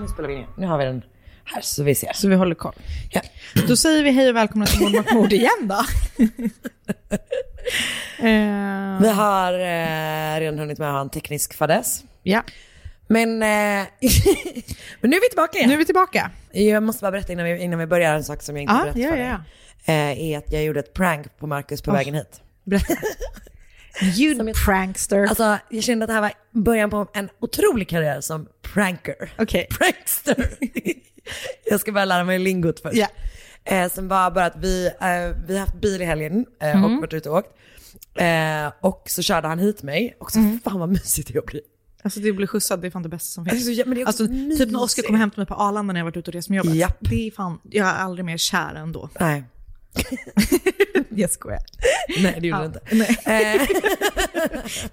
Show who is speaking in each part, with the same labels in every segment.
Speaker 1: Nu spelar vi in. Nu har vi den här så vi ser. Så vi håller koll. Ja. Då säger vi hej och välkomna till Mord mot mord igen då.
Speaker 2: Eh, Vi har eh, redan hunnit med att ha en teknisk fadäs.
Speaker 1: ja.
Speaker 2: Men, eh, men nu är vi tillbaka igen.
Speaker 1: Nu är vi tillbaka.
Speaker 2: Jag måste bara berätta innan vi, innan vi börjar en sak som jag inte
Speaker 1: Ja,
Speaker 2: berättade
Speaker 1: ja,
Speaker 2: för
Speaker 1: ja,
Speaker 2: dig. Eh, är att jag gjorde ett prank på Marcus på vägen hit.
Speaker 1: You prankster.
Speaker 2: Alltså jag kände att det här var början på en otrolig karriär som pranker.
Speaker 1: Okej.
Speaker 2: Prankster. jag ska bara lära mig lingot först.
Speaker 1: Ja.
Speaker 2: Eh, sen var bara att vi, eh, vi har haft bil i helgen eh,
Speaker 1: Mm.
Speaker 2: och varit ute och åkt. Eh, och så körde han hit mig och så fan vad mysigt det är att bli
Speaker 1: Alltså Mm. det blir skjutsad, det är fan det bästa som finns.
Speaker 2: Alltså, ja, men det är också
Speaker 1: alltså, typ när Oskar
Speaker 2: mysigt.
Speaker 1: kom hem till mig på Arlanda när jag varit ute och rest med jobbet.
Speaker 2: Japp.
Speaker 1: Det är fan, jag är aldrig mer kär än då.
Speaker 2: Nej.
Speaker 1: Jag skojar.
Speaker 2: Nej det gjorde det inte. Eh,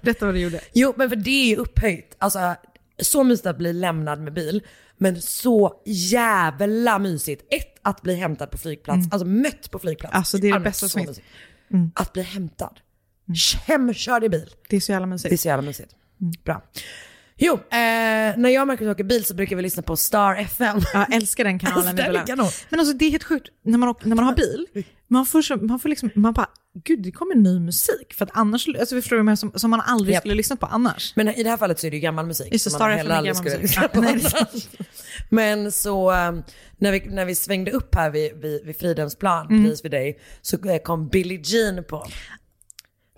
Speaker 1: Berätta vad du gjorde.
Speaker 2: jo men för det är ju upphöjt. Alltså så mysigt att bli lämnad med bil. Men så jävla mysigt. Ett, att bli hämtad på flygplats. Alltså mött på flygplats.
Speaker 1: Mm. Alltså, det är det
Speaker 2: Annars
Speaker 1: bästa som
Speaker 2: så
Speaker 1: finns.
Speaker 2: mysigt. Att bli hämtad. Hemkörd i bil.
Speaker 1: Det är så jävla
Speaker 2: Det är
Speaker 1: mysigt. Mm.
Speaker 2: så jävla mysigt. Bra. Jo, eh, när jag och Marcus åker bil så brukar vi lyssna på Star FM.
Speaker 1: Jag älskar den
Speaker 2: Alltså,
Speaker 1: kanalen.
Speaker 2: den är
Speaker 1: ibland.
Speaker 2: kanon.
Speaker 1: Men alltså det är helt sjukt, när man, åker, när man har bil, man får, så, man får liksom, man bara, gud det kommer ny musik. För att annars, alltså förstår du, vad jag menar? som, som man aldrig
Speaker 2: Japp.
Speaker 1: skulle lyssna på annars.
Speaker 2: Men i det här fallet så är det ju gammal musik.
Speaker 1: Just det,
Speaker 2: som
Speaker 1: Star
Speaker 2: man
Speaker 1: FM
Speaker 2: heller
Speaker 1: är
Speaker 2: aldrig
Speaker 1: gammal
Speaker 2: skulle
Speaker 1: musik.
Speaker 2: lyssna på
Speaker 1: Ja, nej, det är
Speaker 2: annars. Men så um, när vi, när vi svängde upp här vid, vid, vid Fridhemsplan,
Speaker 1: Mm.
Speaker 2: precis vid dig, så eh, kom Billie Jean på.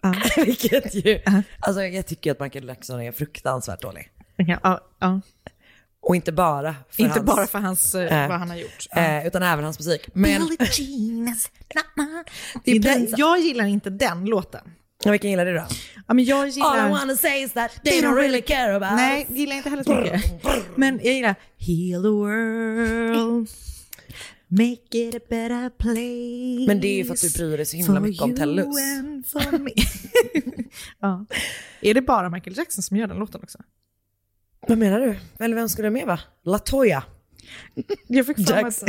Speaker 1: Ja.
Speaker 2: Vilket ju, alltså jag tycker att Michael Jackson är fruktansvärt dålig.
Speaker 1: Ja, ja, ja.
Speaker 2: Och inte bara för
Speaker 1: Inte
Speaker 2: hans,
Speaker 1: bara för hans, eh,
Speaker 2: Eh.
Speaker 1: vad han har gjort.
Speaker 2: eh, utan även hans musik. Men
Speaker 1: Billie Jeans. Na, na.
Speaker 2: Det
Speaker 1: Det
Speaker 2: är
Speaker 1: är den,
Speaker 2: pinsamt.
Speaker 1: jag gillar inte den låten.
Speaker 2: ja, vilken gillar du då?
Speaker 1: Ja, men jag
Speaker 2: All
Speaker 1: gillar...
Speaker 2: I wanna say is that they don't really care about
Speaker 1: Nej,
Speaker 2: us.
Speaker 1: gillar inte heller så mycket. Men jag gillar Heal the world, make it a better place.
Speaker 2: Men det är ju för att du bryr dig så himla
Speaker 1: for
Speaker 2: mycket om
Speaker 1: you
Speaker 2: Tellus.
Speaker 1: and for me. ja. Är det bara Michael Jackson som gör den låten också?
Speaker 2: Vad menar du? Eller vem skulle det med va? Latoya?
Speaker 1: Jag fick för mig att,
Speaker 2: Jackson.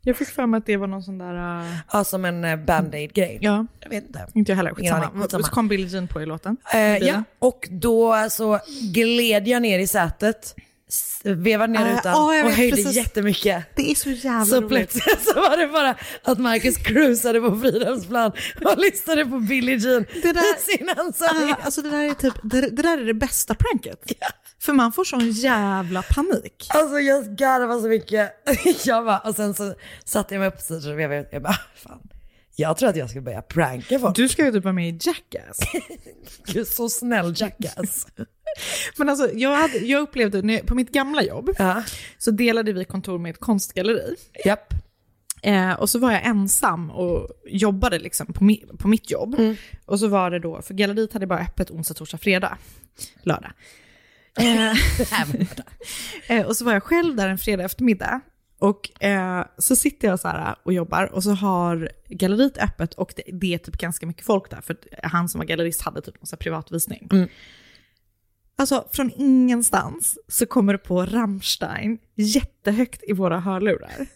Speaker 1: jag fick för mig att det var någon sån där... Uh,
Speaker 2: Ja, som en eh, band-aid-grej.
Speaker 1: ja,
Speaker 2: Jag vet inte.
Speaker 1: inte jag heller.
Speaker 2: Ingen aning,
Speaker 1: Skitsamma. Så
Speaker 2: skitsamma.
Speaker 1: kom Billie Jean på i låten.
Speaker 2: Eh, ja,
Speaker 1: Bilen.
Speaker 2: och då så gled jag ner i sätet, s- vevade ner
Speaker 1: Eh,
Speaker 2: rutan
Speaker 1: åh, jag
Speaker 2: och
Speaker 1: vet
Speaker 2: höjde
Speaker 1: precis.
Speaker 2: jättemycket.
Speaker 1: Det är så jävla
Speaker 2: Så
Speaker 1: roligt.
Speaker 2: plötsligt så var det bara att Marcus cruisade på Fridhemsplan och lyssnade på Billie Jean
Speaker 1: Det där-
Speaker 2: i sin ensam.
Speaker 1: Ah, alltså det där är typ, det, det där är det bästa pranket. För man får sån jävla panik.
Speaker 2: Alltså jag garvade så mycket. Jag bara, och sen så satte jag mig upp och så vevade jag. Jag bara, fan. Jag tror att jag ska börja pranka folk.
Speaker 1: Du ska ju typ vara med i Jackass.
Speaker 2: Du är så snäll jackass.
Speaker 1: Men alltså, jag, hade, jag upplevde, när, jag- på mitt gamla jobb,
Speaker 2: Ja.
Speaker 1: så delade vi kontor med ett konstgalleri.
Speaker 2: Japp.
Speaker 1: Eh, och så var jag ensam och jobbade liksom på, mi, på mitt jobb. Och så var det då, för galleriet hade bara öppet onsdag, torsdag, fredag, lördag. Eh, eh, och så var jag själv där en fredag eftermiddag. Och eh, så sitter jag så här och jobbar och så har galleriet öppet och det, det är typ ganska mycket folk där för att han som var gallerist hade typ någon så här privatvisning. Alltså från ingenstans så kommer det på Rammstein jättehögt i våra hörlurar.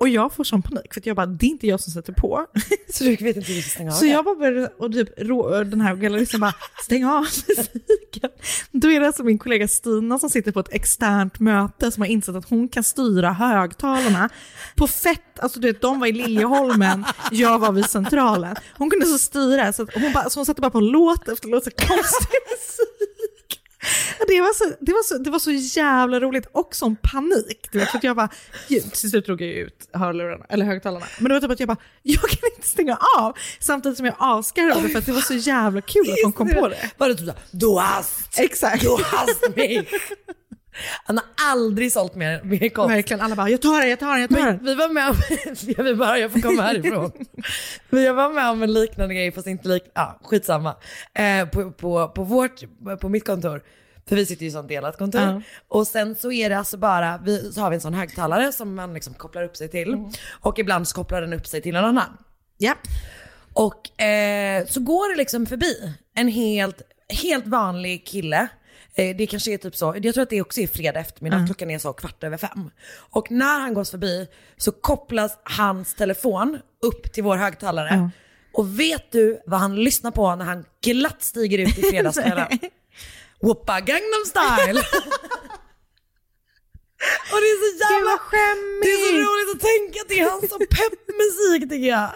Speaker 1: Och jag får sån panik för att jag bara, det är inte jag som sätter på.
Speaker 2: Så du vet inte hur du ska stänga av
Speaker 1: Så
Speaker 2: det.
Speaker 1: jag bara började, och typ rå, den här galleristen bara, stäng av musiken. Då är det alltså min kollega Stina som sitter på ett externt möte som har insett att hon kan styra högtalarna på fett, alltså du vet de var i Liljeholmen, jag var vid Centralen. Hon kunde så styra, så, att hon, bara, så hon satte bara på låt efter låt, så konstig musik. Det var, så, det, var så, det var så jävla roligt och sån panik. Du vet, för att jag bara, gud, till slut drog jag ju ut hörlurarna, eller högtalarna. Men det var typ att jag bara, jag kan inte stänga av. Samtidigt som jag asgarvade för att det var så jävla kul att hon kom på det.
Speaker 2: Var det typ såhär, du
Speaker 3: alltså.
Speaker 2: hast,
Speaker 1: Exakt.
Speaker 2: du hast mig. Han har aldrig sålt mer, mer konst.
Speaker 1: Verkligen, alla bara, jag tar den, jag tar den, jag tar
Speaker 2: Men
Speaker 1: den.
Speaker 2: vi var med om, jag vill bara, jag får komma härifrån. Men jag var med om en liknande grej, fast inte lik, ja skitsamma. Eh, på, på, på vårt, på mitt kontor. För vi sitter ju i sånt delat kontor.
Speaker 1: Ja.
Speaker 2: Och sen så är det alltså bara, vi, så har vi en sån högtalare som man liksom kopplar upp sig till. Och ibland så kopplar den upp sig till en annan.
Speaker 1: Ja.
Speaker 2: Och eh, så går det liksom förbi en helt, helt vanlig kille. Eh, det kanske är typ så, jag tror att det också är fredag eftermiddag, klockan är så kvart över fem. Och när han går förbi så kopplas hans telefon upp till vår högtalare. Och vet du vad han lyssnar på när han glatt stiger ut i fredagskvällen? Whoopa Gangnam style! Och det är så jävla
Speaker 1: vad skämmigt.
Speaker 2: Det är så roligt att tänka att det är hans peppmusik tycker jag.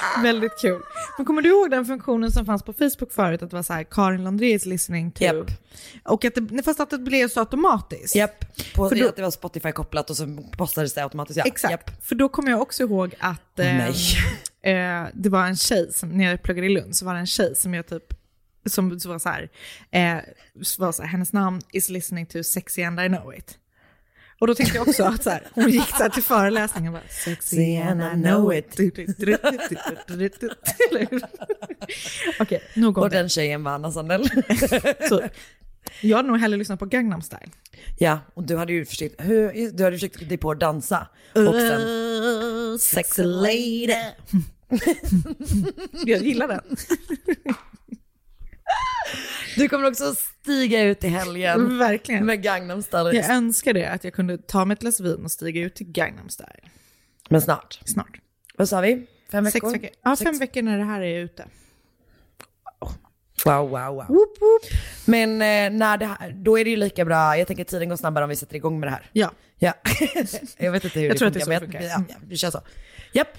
Speaker 1: Ah. Väldigt kul. Men kommer du ihåg den funktionen som fanns på Facebook förut, att det var så här, Karin Landré is listening to...
Speaker 2: Japp.
Speaker 1: Och att det, fast att det blev så automatiskt.
Speaker 2: Japp, på,
Speaker 1: För då-
Speaker 2: att det var Spotify kopplat och så postades det automatiskt. Ja.
Speaker 1: Exakt,
Speaker 2: Japp.
Speaker 1: för då kommer jag också ihåg att eh,
Speaker 2: Nej.
Speaker 1: eh, det var en tjej, som, när jag pluggade i Lund, så var det en tjej som jag typ, som var så här, eh, så var så här hennes namn is listening to sexy and I know it. Och då tänkte jag också att så här, hon gick så här till föreläsningen och bara “Sexy and I know it”. Eller hur? Okej, nog om
Speaker 2: Och
Speaker 1: det.
Speaker 2: den tjejen var Anna Sandell.
Speaker 1: Så, jag hade nog hellre lyssnat på Gangnam style.
Speaker 2: ja, och du hade ju försökt, hur, du hade försökt dig på att dansa. Och
Speaker 1: Äh.
Speaker 2: sen, sexy lady.
Speaker 1: Jag gillar den.
Speaker 2: Du kommer också stiga ut i helgen
Speaker 1: Verkligen.
Speaker 2: med Gangnam style.
Speaker 1: Jag önskar det, att jag kunde ta mig ett glas vin och stiga ut till Gangnam style
Speaker 2: Men snart.
Speaker 1: snart.
Speaker 2: Vad sa vi? Fem veckor?
Speaker 1: Sex veckor. Ja, fem veckor när det här är ute.
Speaker 2: Wow, wow, wow. Men eh, när det här, då är det ju lika bra, jag tänker tiden går snabbare om vi sätter igång med det här.
Speaker 1: Ja.
Speaker 2: Ja, jag vet inte hur
Speaker 1: Jag
Speaker 2: det
Speaker 1: tror att det är
Speaker 2: funkar. men
Speaker 1: så det funkar.
Speaker 2: Ja, ja, vi kör så. Japp.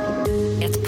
Speaker 4: Ett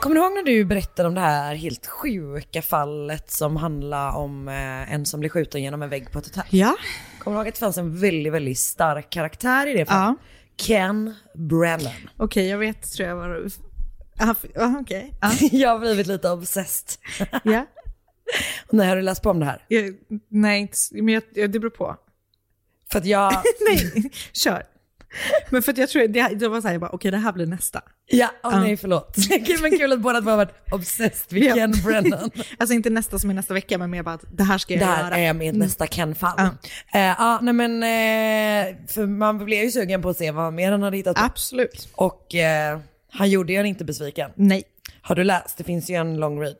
Speaker 2: Kommer du ihåg när du berättade om det här helt sjuka fallet som handlar om eh, en som blev skjuten genom en vägg på ett hotell?
Speaker 1: Ja.
Speaker 2: Kommer du ihåg att det fanns en väldigt, väldigt stark karaktär i det fallet?
Speaker 1: Ja.
Speaker 2: Ken Brennan.
Speaker 1: Okej, jag vet tror jag var... Ah, f- ah, Okej. Ja.
Speaker 2: Jag har blivit lite obsessed.
Speaker 1: Ja.
Speaker 2: Nej, har du läst på om det här?
Speaker 1: Jag, nej, inte s- men jag, jag, det beror på.
Speaker 2: För att jag,
Speaker 1: Nej, kör. Men för att jag tror, det, det var så här, jag bara okej det här blir nästa.
Speaker 2: ja, åh nej förlåt. Gud men kul att båda två har varit obsessed vid
Speaker 1: Ja.
Speaker 2: Ken Brennan.
Speaker 1: Alltså inte nästa som är nästa vecka, men mer bara att det här ska jag
Speaker 2: Det
Speaker 1: göra. Mm.
Speaker 2: här är mitt nästa Ken-fall.
Speaker 1: Ja.
Speaker 2: Eh, ja, nej men, eh, för man blev ju sugen på att se vad mer han hade hittat på.
Speaker 1: Absolut.
Speaker 2: Och eh, han gjorde ju en inte besviken.
Speaker 1: Nej,
Speaker 2: Har du läst? Det finns ju en long read.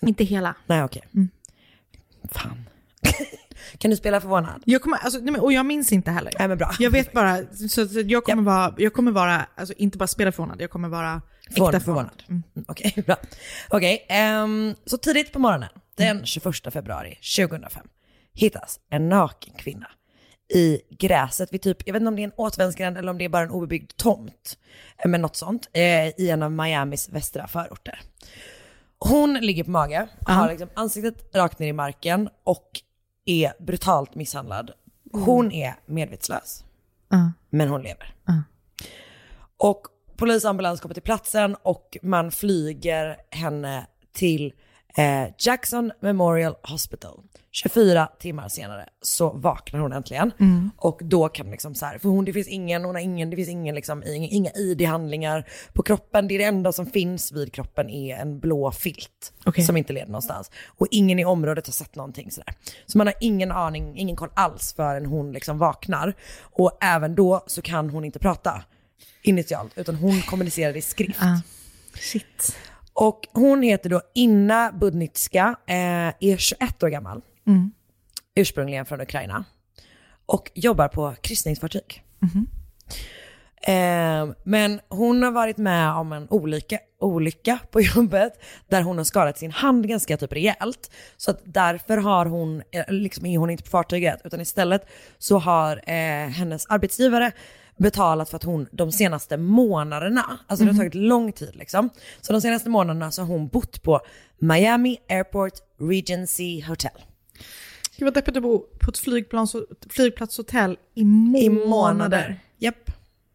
Speaker 1: inte hela. Mm.
Speaker 2: Nej okej. Fan. kan du spela förvånad?
Speaker 1: Jag kommer, alltså, nej, men, och jag minns inte heller.
Speaker 2: Nej men bra.
Speaker 1: Jag vet bara, så, så jag kommer vara, jag kommer vara alltså, inte bara spela förvånad, jag kommer vara
Speaker 2: Äkta förvånad. Mm. Okej, bra. Okej, ehm, så tidigt på morgonen, den 21 februari 2005, hittas en naken kvinna i gräset vid typ, jag vet inte om det är en återvändsgränd eller om det är bara en obebyggd tomt, eh, men något sånt, eh, i en av Miamis västra förorter. Hon ligger på mage, har liksom ansiktet rakt ner i marken och är brutalt misshandlad. Hon är medvetslös,
Speaker 1: Ja.
Speaker 2: men hon lever.
Speaker 1: Ja.
Speaker 2: Och polis och ambulans kommer till platsen och man flyger henne till eh, Jackson Memorial Hospital. 24 timmar senare så vaknar hon äntligen.
Speaker 1: Mm.
Speaker 2: Och då kan liksom så här, för hon, det finns ingen, hon har ingen, det finns ingen liksom, inga, inga ID-handlingar på kroppen. Det är det enda som finns vid kroppen är en blå filt
Speaker 1: Okej.
Speaker 2: som inte leder någonstans. Och ingen i området har sett någonting sådär. Så man har ingen aning, ingen koll alls förrän hon liksom vaknar. Och även då så kan hon inte prata initialt, utan hon kommunicerar i skrift.
Speaker 1: Ah. Shit.
Speaker 2: Och hon heter då Inna Budnitska, eh, är 21 år gammal,
Speaker 1: Mm.
Speaker 2: ursprungligen från Ukraina. Och jobbar på kryssningsfartyg. Eh, men hon har varit med om en olycka, olycka på jobbet där hon har skadat sin hand ganska typ rejält. Så att därför har hon, eh, liksom är hon inte på fartyget utan istället så har eh, hennes arbetsgivare betalat för att hon de senaste månaderna, alltså det har
Speaker 5: Mhm.
Speaker 2: tagit lång tid liksom. Så de senaste månaderna så har hon bott på Miami Airport Regency Hotel.
Speaker 1: Gud vad deppigt att bo på ett flygplan, så, flygplatshotell i månader.
Speaker 2: I månader. Japp.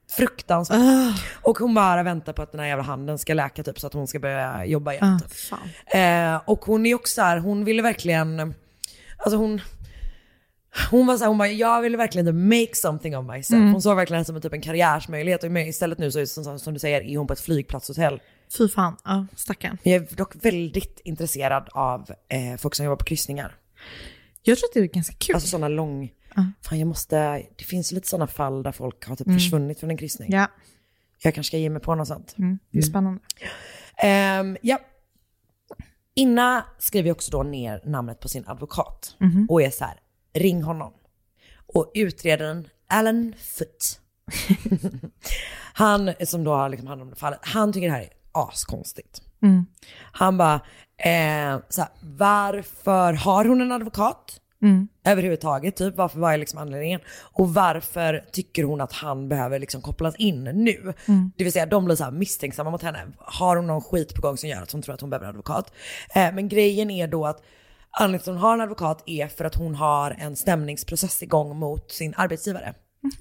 Speaker 2: Fruktansvärt.
Speaker 1: Ah.
Speaker 2: Och hon bara väntar på att den här jävla handen ska läka typ så att hon ska börja jobba igen.
Speaker 1: Ah,
Speaker 2: typ. Eh, och hon är också så här, hon ville verkligen, alltså hon, hon var så här, hon bara, jag ville verkligen typ make something of myself.
Speaker 1: Mm.
Speaker 2: Hon såg verkligen det som en, typ en karriärsmöjlighet och men istället nu så är det som, som du säger, är hon på ett flygplatshotell.
Speaker 1: Fy fan, ja, stackarn.
Speaker 2: Jag är dock väldigt intresserad av eh, folk som jobbar på kryssningar.
Speaker 1: Jag tror att det är ganska kul.
Speaker 2: Alltså sådana lång, fan jag måste, det finns ju lite sådana fall där folk har typ
Speaker 1: Mm.
Speaker 2: försvunnit från en kryssning.
Speaker 1: Ja.
Speaker 2: Jag kanske ska ge mig på något sånt.
Speaker 1: Mm, det är spännande.
Speaker 2: Ehm, ja. Inna skriver också då ner namnet på sin advokat
Speaker 1: Mhm.
Speaker 2: och är så här, ring honom. Och utredaren Alan Foote, han som då har liksom hand om det fallet, han tycker det här är askonstigt.
Speaker 1: Mm.
Speaker 2: Han bara, eh, så här, varför har hon en advokat?
Speaker 1: Mm.
Speaker 2: överhuvudtaget. Typ. Varför, vad är liksom anledningen? Och varför tycker hon att han behöver liksom kopplas in nu?
Speaker 1: Mm.
Speaker 2: Det vill säga de blir så här misstänksamma liksom mot henne. Har hon någon skit på gång som gör att hon tror att hon behöver en advokat? Eh, men grejen är då att anledningen till att hon har en advokat är för att hon har en stämningsprocess igång mot sin arbetsgivare.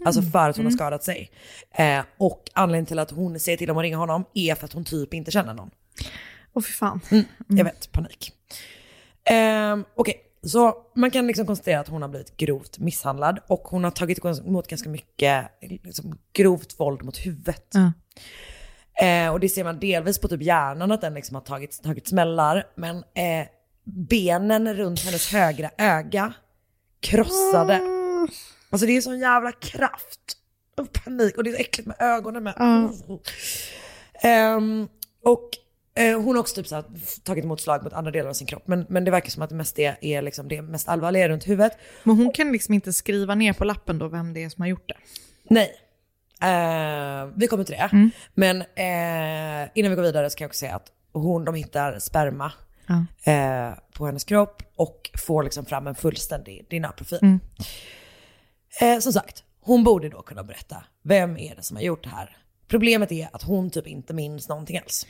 Speaker 2: Alltså för att hon har
Speaker 1: Mm.
Speaker 2: skadat sig. Eh, och anledningen till att hon säger till om att ringa honom är för att hon typ inte känner någon.
Speaker 1: Åh fy fan.
Speaker 2: Mm, Jag vet, panik. Ehm, Okej, så man kan liksom konstatera att hon har blivit grovt misshandlad och hon har tagit emot ganska mycket liksom, grovt våld mot huvudet.
Speaker 1: Ja.
Speaker 2: Eh, och det ser man delvis på typ hjärnan att den liksom har tagit, tagit smällar. Men eh, benen runt hennes högra öga krossade. Alltså det är sån jävla kraft och panik och det är så äckligt med ögonen med.
Speaker 1: Ja.
Speaker 2: Ehm, och eh, hon har också typ så här, tagit emot slag mot andra delar av sin kropp. Men, men det verkar som att det mest är, är liksom det mest allvarliga är runt huvudet.
Speaker 1: Men hon kan liksom inte skriva ner på lappen då vem det är som har gjort det.
Speaker 2: Nej. Eh, vi kommer till det.
Speaker 1: Mm.
Speaker 2: Men eh, innan vi går vidare så kan jag också säga att hon, de hittar sperma
Speaker 1: Ja.
Speaker 2: eh, på hennes kropp och får liksom fram en fullständig DNA-profil.
Speaker 1: Mm.
Speaker 2: Eh, som sagt, hon borde då kunna berätta vem är det som har gjort det här. Problemet är att hon typ inte minns någonting alls.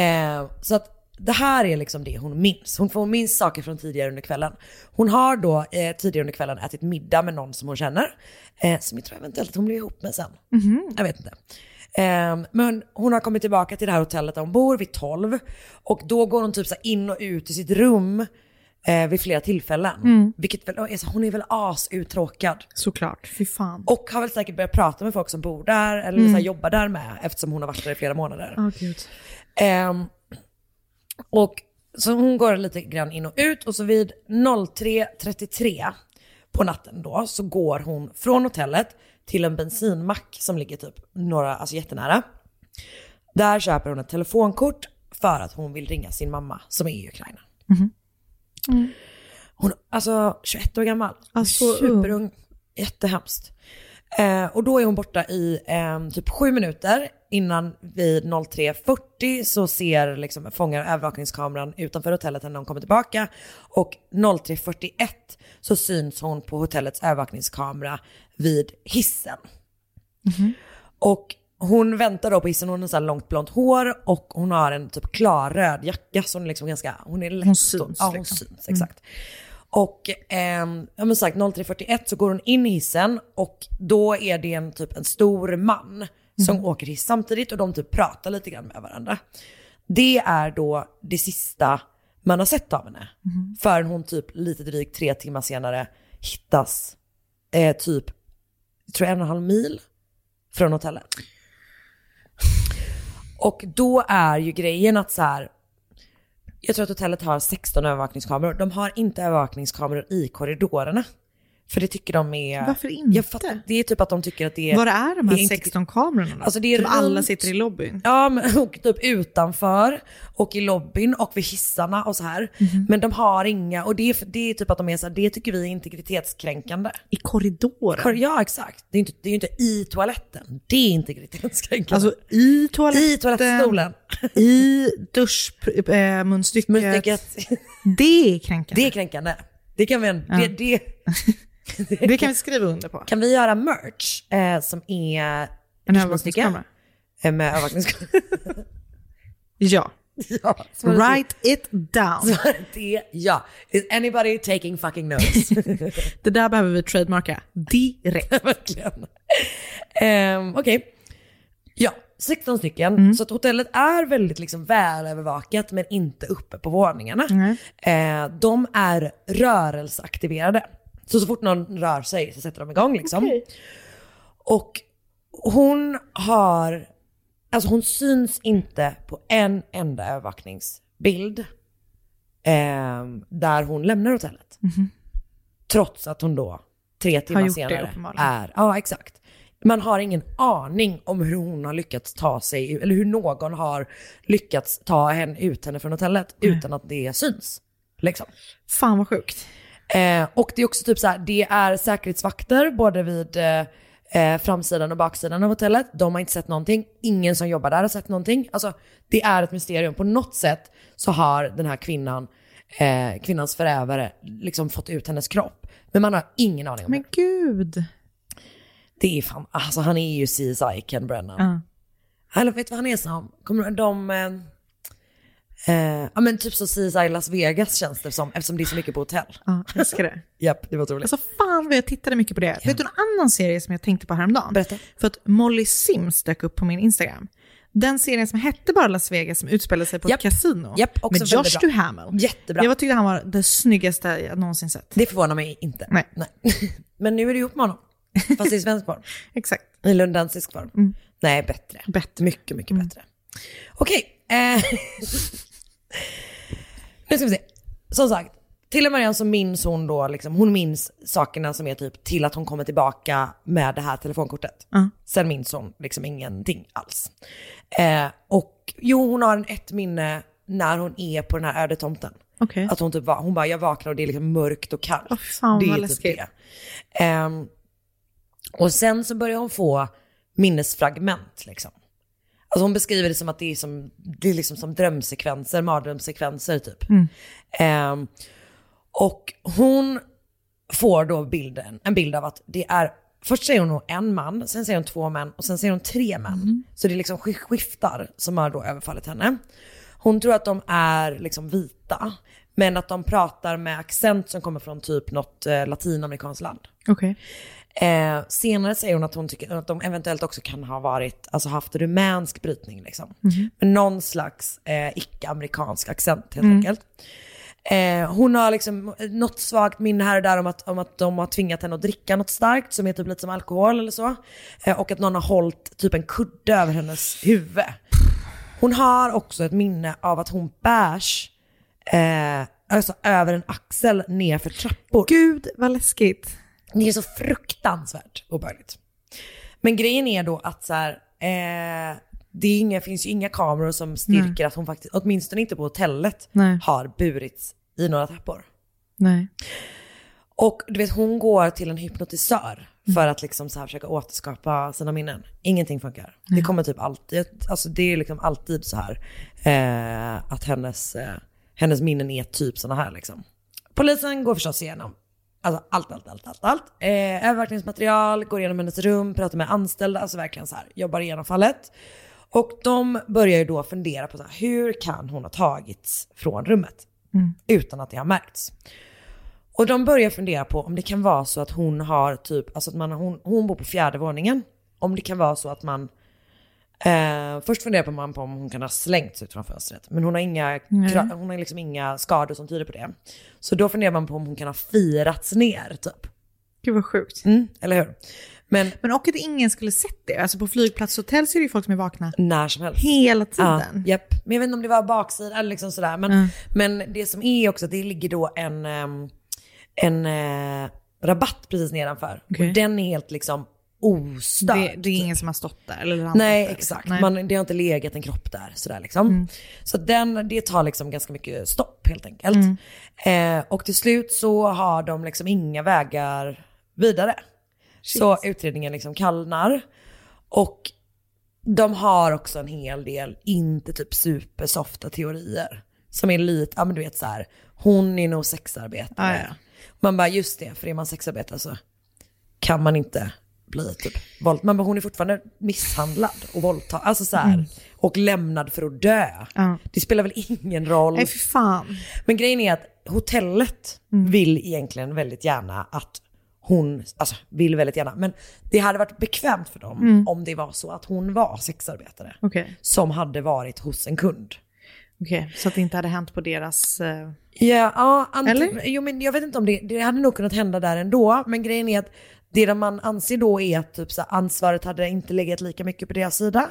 Speaker 2: Eh, så att det här är liksom det hon minns. Hon får minns saker från tidigare under kvällen. Hon har då eh, tidigare under kvällen ätit middag med någon som hon känner. Eh, som jag tror eventuellt att hon blev ihop med sen.
Speaker 1: Mhm.
Speaker 2: Jag vet inte. Ehm, men hon har kommit tillbaka till det här hotellet där hon bor vid 12. Och då går hon typ så här in och ut i sitt rum eh, vid flera tillfällen.
Speaker 1: Mm.
Speaker 2: Vilket väl, alltså, hon är väl asuttråkad.
Speaker 1: Såklart, fy fan.
Speaker 2: Och har väl säkert börjat prata med folk som bor där eller
Speaker 1: Mm.
Speaker 2: så här, jobbar där med eftersom hon har varit där i flera månader.
Speaker 1: Åh gud.
Speaker 2: Ehm, och så hon går lite grann in och ut och så vid 03.33 på natten då så går hon från hotellet till en bensinmack som ligger typ några, alltså jättenära. Där köper hon ett telefonkort för att hon vill ringa sin mamma som är i Ukraina.
Speaker 1: Mm.
Speaker 2: Hon, alltså 21 år gammal,
Speaker 1: Alltså,
Speaker 2: superung, jättehemskt. Eh, och då är hon borta i eh, typ sju minuter. Innan vid 03.40 så ser liksom, fångar övervakningskameran utanför hotellet när hon kommer tillbaka. Och 03.41 så syns hon på hotellets övervakningskamera vid hissen. Och hon väntar då på hissen, hon har så här långt blont hår och hon har en typ klarröd jacka. Så hon är liksom ganska, hon är lätt.
Speaker 1: Hon syns
Speaker 2: Ja, hon
Speaker 1: liksom.
Speaker 2: syns, exakt. Och ehm, ja, men sagt 03.41 så går hon in i hissen och då är det en typ en stor man som
Speaker 1: Mm.
Speaker 2: åker hiss samtidigt och de typ pratar lite grann med varandra. Det är då det sista man har sett av henne.
Speaker 1: Mhm.
Speaker 2: Förrän hon typ lite drygt tre timmar senare hittas eh, typ, jag tror en och en halv mil från hotellet. Och då är ju grejen att så här, jag tror att hotellet har 16 övervakningskameror. De har inte övervakningskameror i korridorerna. För det tycker de är...
Speaker 1: Varför inte?
Speaker 2: Jag fattar, det är typ att de tycker att det är...
Speaker 1: Var är de här
Speaker 2: det inte-
Speaker 1: 16 kamerorna då?
Speaker 2: Alltså det är
Speaker 1: Som alla
Speaker 2: runt-
Speaker 1: sitter i lobbyn.
Speaker 2: Ja, men, och typ utanför och i lobbyn och vid hissarna och så här. Men de har inga, och det är, för- det är typ att de är så här, det tycker vi är integritetskränkande.
Speaker 1: I korridoren?
Speaker 2: Kor- ja, exakt. Det är, inte, det är ju inte i toaletten. Det är integritetskränkande.
Speaker 1: Alltså i toaletten,
Speaker 2: I toalettstolen.
Speaker 1: i duschmunstycket.
Speaker 2: Munstycket.
Speaker 1: Det är kränkande.
Speaker 2: Det är kränkande. Det kan vi, det, det,
Speaker 1: Det kan vi skriva under på.
Speaker 2: Kan vi göra merch eh, som är...
Speaker 1: En
Speaker 2: duschmunstycke?
Speaker 1: övervakningskamera.
Speaker 2: Eh, Med övervakningskamera.
Speaker 1: Ja.
Speaker 2: ja, så var det typ-
Speaker 1: Write it down.
Speaker 2: Så det, ja. Is anybody taking fucking notes?
Speaker 1: Det där behöver vi trademarka direkt.
Speaker 2: Verkligen. Ehm, Okej. Ja, Mm. 16 stycken. Så att hotellet är väldigt liksom välövervakat men inte uppe på våningarna. Eh, de är rörelseaktiverade. Så så fort någon rör sig så sätter de igång liksom. Och hon har, alltså hon syns inte på en enda övervakningsbild ehm, där hon lämnar hotellet. Trots att hon då tre timmar
Speaker 1: gjort det,
Speaker 2: senare
Speaker 1: uppenbarligen.
Speaker 2: är, ja exakt. Man har ingen aning om hur hon har lyckats ta sig, eller hur någon har lyckats ta henne, ut henne från hotellet utan att det syns. Liksom.
Speaker 1: Fan vad sjukt.
Speaker 2: Eh, och det är också typ så här, det är säkerhetsvakter både vid eh, eh, framsidan och baksidan av hotellet. De har inte sett någonting. Ingen som jobbar där har sett någonting. Alltså, det är ett mysterium. På något sätt så har den här kvinnan, eh, kvinnans förövare, liksom fått ut hennes kropp. Men man har ingen aning om
Speaker 1: Men gud.
Speaker 2: det. är fan, alltså han är ju CSI Ken Brennan.
Speaker 1: Ja.
Speaker 2: Eller vet du vad han är som? Kommer du- de... eh, Eh, ja men typ så CSI Las Vegas känns det som eftersom det är så mycket på hotell.
Speaker 1: Ja, jag älskar det.
Speaker 2: Japp, det var otroligt.
Speaker 1: Alltså fan vad jag tittade mycket på det. Vet du en annan serie som jag tänkte på häromdagen?
Speaker 2: Berätta.
Speaker 1: För att Molly Sims dök upp på min Instagram. Den serien som hette bara Las Vegas som utspelade sig på
Speaker 2: Japp.
Speaker 1: ett kasino.
Speaker 2: Japp, också
Speaker 1: med
Speaker 2: väldigt
Speaker 1: Josh
Speaker 2: bra.
Speaker 1: Duhamel.
Speaker 2: Jättebra.
Speaker 1: Jag tyckte han var det snyggaste jag någonsin sett.
Speaker 2: Det förvånar mig inte.
Speaker 1: Nej.
Speaker 2: Men nu är du ihop med honom. Fast i svensk form.
Speaker 1: Exakt. Mm.
Speaker 2: I lundensisk form. Nej, bättre.
Speaker 1: Bättre.
Speaker 2: Mycket, mycket bättre. Okej. Eh, nu ska vi se. Som sagt, till en början så minns hon då, liksom, hon minns sakerna som är typ till att hon kommer tillbaka med det här telefonkortet.
Speaker 1: Ja.
Speaker 2: Sen minns hon liksom ingenting alls. Eh, och jo, hon har en ett minne när hon är på den här öde tomten.
Speaker 1: Okej.
Speaker 2: Att hon typ var, hon bara, jag vaknar och det är liksom mörkt och kallt.
Speaker 1: Åh, fan,
Speaker 2: det är
Speaker 1: vad
Speaker 2: typ
Speaker 1: läskigt.
Speaker 2: det. Ehm, och sen så börjar hon få minnesfragment liksom. Alltså hon beskriver det som att det är som, det är liksom som drömsekvenser, mardrömssekvenser typ.
Speaker 1: Mm.
Speaker 2: Ehm, och hon får då bilden, en bild av att det är, först säger hon nog en man, sen säger hon två män och sen säger hon tre män.
Speaker 1: Mm.
Speaker 2: Så det är liksom sk- skiftar som har då överfallit henne. Hon tror att de är liksom vita, men att de pratar med accent som kommer från typ något eh, latinamerikanskt land.
Speaker 1: Okej.
Speaker 2: Eh, senare säger hon att hon tycker att de eventuellt också kan ha varit, alltså haft rumänsk brytning liksom. Men någon slags eh, icke-amerikansk accent helt enkelt. Eh, hon har liksom eh, något svagt minne här och där om att, om att de har tvingat henne att dricka något starkt som är typ lite som alkohol eller så. Eh, och att någon har hållit typ en kudde över hennes huvud. Hon har också ett minne av att hon bärs eh, alltså över en axel nerför trappor.
Speaker 1: Gud vad läskigt.
Speaker 2: Det är så fruktansvärt obehagligt. Men grejen är då att så här, eh, det är inga, finns ju inga kameror som styrker
Speaker 1: Nej.
Speaker 2: att hon faktiskt, åtminstone inte på hotellet,
Speaker 1: Nej.
Speaker 2: har burits i några trappor.
Speaker 1: Nej.
Speaker 2: Och du vet hon går till en hypnotisör för att liksom så här försöka återskapa sina minnen. Ingenting funkar. Det kommer typ alltid, alltså det är liksom alltid så här eh, att hennes, eh, hennes minnen är typ såna här liksom. Polisen går förstås igenom alltså allt, allt, allt, allt, allt. Eh, övervakningsmaterial, går igenom hennes rum, pratar med anställda, alltså verkligen så här, jobbar igenom fallet. Och de börjar ju då fundera på så här, hur kan hon ha tagits från rummet
Speaker 1: Mm.
Speaker 2: utan att det har märkts? Och de börjar fundera på om det kan vara så att hon har typ, alltså att man, hon, hon bor på fjärde våningen. Om det kan vara så att man, eh, först funderar på man på om hon kan ha slängts ut från fönstret. Men hon har, inga,
Speaker 1: Nej.
Speaker 2: kra- hon har liksom inga skador som tyder på det. Så då funderar man på om hon kan ha firats ner typ.
Speaker 1: Gud vad sjukt.
Speaker 2: Mm, eller hur? Men,
Speaker 1: Men och att ingen skulle sett det. Alltså på flygplats och hotell så är det ju folk som är vakna.
Speaker 2: När som helst.
Speaker 1: Hela tiden.
Speaker 2: Ja, japp. Men jag vet inte om det var baksida eller liksom sådär. Men, men det som är också att det ligger då en, ehm, en eh, rabatt precis nedanför.
Speaker 1: Okej.
Speaker 2: Och den är helt liksom ostörd.
Speaker 1: Det, det är ingen som har stått där eller landat
Speaker 2: Nej
Speaker 1: där. liksom.
Speaker 2: exakt,
Speaker 1: Nej.
Speaker 2: Man, det har inte legat en kropp där. Sådär, liksom.
Speaker 1: Mm.
Speaker 2: Så den, det tar liksom ganska mycket stopp helt enkelt.
Speaker 1: Mm.
Speaker 2: Eh, och till slut så har de liksom inga vägar vidare. Så utredningen liksom kallnar. Och de har också en hel del, inte typ supersofta teorier. Som är lite, ja men du vet så här, hon är nog sexarbetare.
Speaker 1: Ah, ja.
Speaker 2: Man bara just det, för är man sexarbetare så kan man inte bli typ våld. Man bara hon är fortfarande misshandlad och våldtagen. Alltså så här,
Speaker 1: Mm.
Speaker 2: och lämnad för att dö.
Speaker 1: Ja.
Speaker 2: Det spelar väl ingen roll.
Speaker 1: Nej, för fan. Mm.
Speaker 2: Men grejen är att hotellet vill egentligen väldigt gärna att hon, alltså vill väldigt gärna, men det hade varit bekvämt för dem
Speaker 1: Mm.
Speaker 2: om det var så att hon var sexarbetare.
Speaker 1: Okej,
Speaker 2: Som hade varit hos en kund.
Speaker 1: okej. så att det inte hade hänt på deras... eh,
Speaker 2: Ja, ja antingen,
Speaker 1: Eller?
Speaker 2: jo, men jag vet inte om det, det hade nog kunnat hända där ändå. Men grejen är att det de man anser då är att typ, så här, ansvaret hade inte legat lika mycket på deras sida.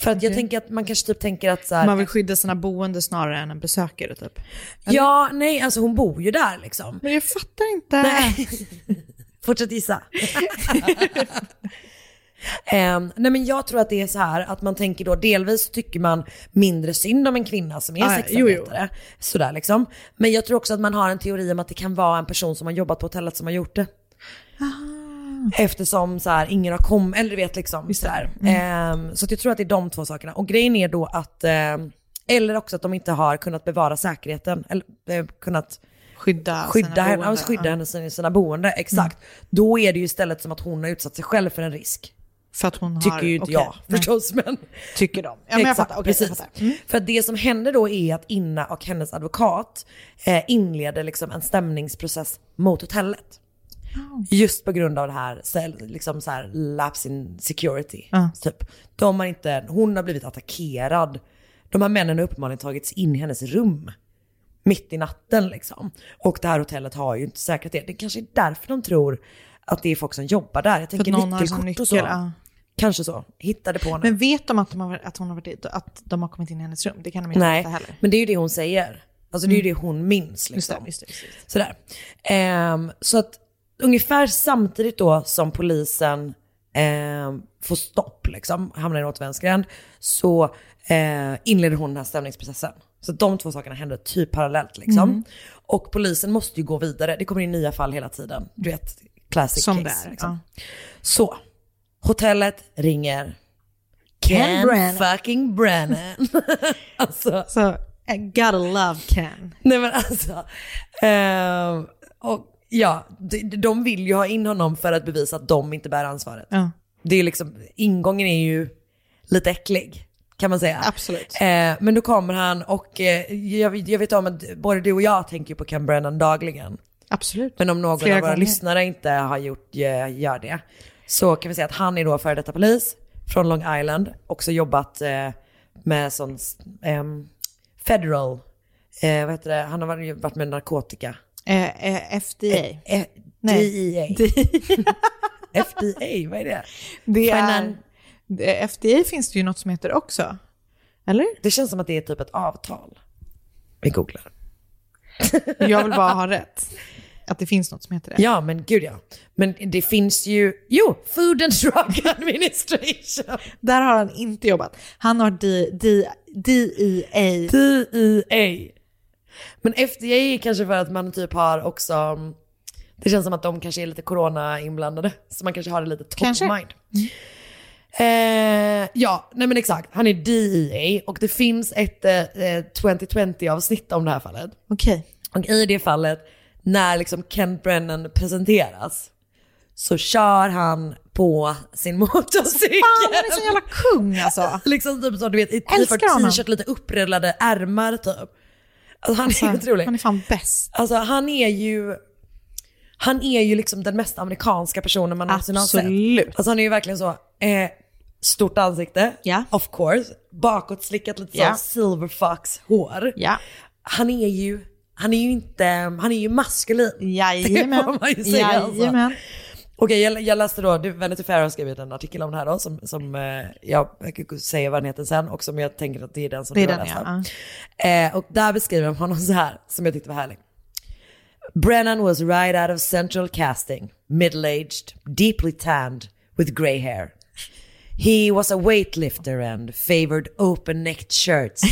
Speaker 2: För att jag tänker att man kanske typ tänker att så här,
Speaker 1: Man vill skydda sina boende snarare än en besökare typ.
Speaker 2: ja nej alltså hon bor ju där liksom.
Speaker 1: Men jag fattar inte.
Speaker 2: Nej. Fortsätt gissa. Ehm, nej men jag tror att det är så här att man tänker då delvis tycker man mindre synd om en kvinna som är
Speaker 1: Ah, ja. Jo, jo.
Speaker 2: sexarbetare. Sådär liksom. Men jag tror också att man har en teori om att det kan vara en person som har jobbat på hotellet som har gjort det. Eftersom så här, ingen har kommit, eller du vet liksom. Så, här.
Speaker 1: Mm.
Speaker 2: Ehm, så att jag tror att det är de två sakerna. Och grejen är då att, ehm, eller också att de inte har kunnat bevara säkerheten. Eller eh, kunnat
Speaker 1: skydda,
Speaker 2: skydda,
Speaker 1: sina
Speaker 2: henne,
Speaker 1: boende,
Speaker 2: ja, skydda
Speaker 1: ja. Mm.
Speaker 2: henne sina, sina boende. Exakt. Då är det ju istället som att hon har utsatt sig själv för en risk.
Speaker 1: För att hon har...
Speaker 2: Tycker ju inte
Speaker 1: okej,
Speaker 2: jag
Speaker 1: nej.
Speaker 2: förstås, men tycker de.
Speaker 1: Ja, men jag fattar, okej, jag
Speaker 2: precis.
Speaker 1: fattar. Mm.
Speaker 2: För att det som hände då är att Inna och hennes advokat eh, inleder liksom en stämningsprocess mot hotellet. Just på grund av det här, så- liksom så här lapse in security.
Speaker 1: Ja.
Speaker 2: Typ. De har inte, hon har blivit attackerad. De här männen har uppenbarligen tagits in i hennes rum. Mitt i natten liksom. Och det här hotellet har ju inte säkrat det. Det kanske är därför de tror att det är folk som jobbar där. Jag
Speaker 1: För att
Speaker 2: tänker
Speaker 1: någon har
Speaker 2: nyckelkort
Speaker 1: som nyckel.
Speaker 2: och så.
Speaker 1: ja.
Speaker 2: Kanske så. Hittade på henne.
Speaker 1: Men vet de att, de har, att hon har varit dit och att de har kommit in i hennes rum? Det kan de inte
Speaker 2: Nej,
Speaker 1: veta heller. Mm.
Speaker 2: men det är ju det hon säger. Alltså det är ju det hon minns.
Speaker 1: Just
Speaker 2: Liksom.
Speaker 1: det, just det, just det.
Speaker 2: Sådär. Ehm, så att ungefär samtidigt då som polisen ehm, får stopp, liksom, hamnar i en återvändsgränd, så eh, inleder hon den här stämningsprocessen. Så att de två sakerna händer typ parallellt. Liksom.
Speaker 1: Mm.
Speaker 2: Och polisen måste ju gå vidare, det kommer in nya fall hela tiden. Du vet, classic
Speaker 1: Som
Speaker 2: case.
Speaker 1: det är.
Speaker 2: liksom. Så, hotellet ringer Ken
Speaker 1: Branagh.
Speaker 2: fucking Brennan. alltså,
Speaker 1: Ja. Så, I gotta love Ken.
Speaker 2: Nej men alltså. ehm, och ja, de, de vill ju ha in honom för att bevisa att de inte bär ansvaret.
Speaker 1: Ja.
Speaker 2: Det är liksom, ingången är ju lite äcklig. Kan man säga.
Speaker 1: Absolut.
Speaker 2: Eh, men då kommer han och eh, jag, vet- jag vet om att både du och jag tänker ju på Ken Brennan dagligen.
Speaker 1: Absolut.
Speaker 2: Men om någon
Speaker 1: Flera
Speaker 2: av våra
Speaker 1: gånger.
Speaker 2: lyssnare inte har gjort, eh, gör det så kan vi säga att han är då före detta polis från Long Island. Också jobbat eh, med sån ehm, federal, eh, vad heter det, han har varit- varit med narkotika.
Speaker 1: Eh, eh, FDA.
Speaker 2: Eh,
Speaker 1: Nej. E
Speaker 2: DEA. FDA, vad är det?
Speaker 1: Det är,
Speaker 2: Finan-
Speaker 1: eh, FDA finns det ju något som heter också. Eller?
Speaker 2: Det känns som att det är typ ett avtal. Vi googlar.
Speaker 1: Jag vill bara ha rätt. Att det finns något som heter det.
Speaker 2: Ja men gud ja. Men det finns ju, jo, Food and Drug Administration.
Speaker 1: Där har han inte jobbat. Han har D, D, DEA.
Speaker 2: DEA. Men FDA är kanske för att man typ har också, Det känns som att de kanske är lite corona-inblandade. Så man kanske har det lite top
Speaker 6: Kanske.
Speaker 2: of mind. Eh, ja, nej men exakt. Han är DEA och det finns ett eh, eh, 2020-avsnitt om det här fallet.
Speaker 1: Okej.
Speaker 2: Och i det fallet, när liksom Kent Brennan presenteras, så kör han på sin motorcykel.
Speaker 1: Fan, han är så jävla kung alltså.
Speaker 2: liksom typ som du vet, i
Speaker 1: Älskar honom.
Speaker 2: t-shirt, lite upprullade ärmar typ. Alltså, han är
Speaker 1: Alltså,
Speaker 2: otrolig.
Speaker 1: Han är fan bäst.
Speaker 2: Alltså han är ju, han är ju liksom den mest amerikanska personen man någonsin har sett.
Speaker 1: Absolut.
Speaker 2: Alltså han är ju verkligen så, eh, stort ansikte, of course, bakåtslickat lite
Speaker 1: Ja.
Speaker 2: yeah. silver fox hår. Han är ju, han är ju inte, han är ju maskulin.
Speaker 1: Jajamän.
Speaker 2: Det får man ju säga
Speaker 1: Jajamän.
Speaker 2: alltså. Okej, jag, jag läste då, du, Vanity Fair har skrivit en artikel om det här då, som, som eh, jag, jag säger vad den heter sen och som jag tänker att det är den som
Speaker 1: Det är
Speaker 2: du har
Speaker 1: den,
Speaker 2: läst.
Speaker 1: ja.
Speaker 2: va? Eh, och där beskriver de honom så här, som jag tyckte var härlig. Brennan was right out of central casting, middle-aged, deeply tanned, with grey hair. He was a weightlifter and favored open-necked shirts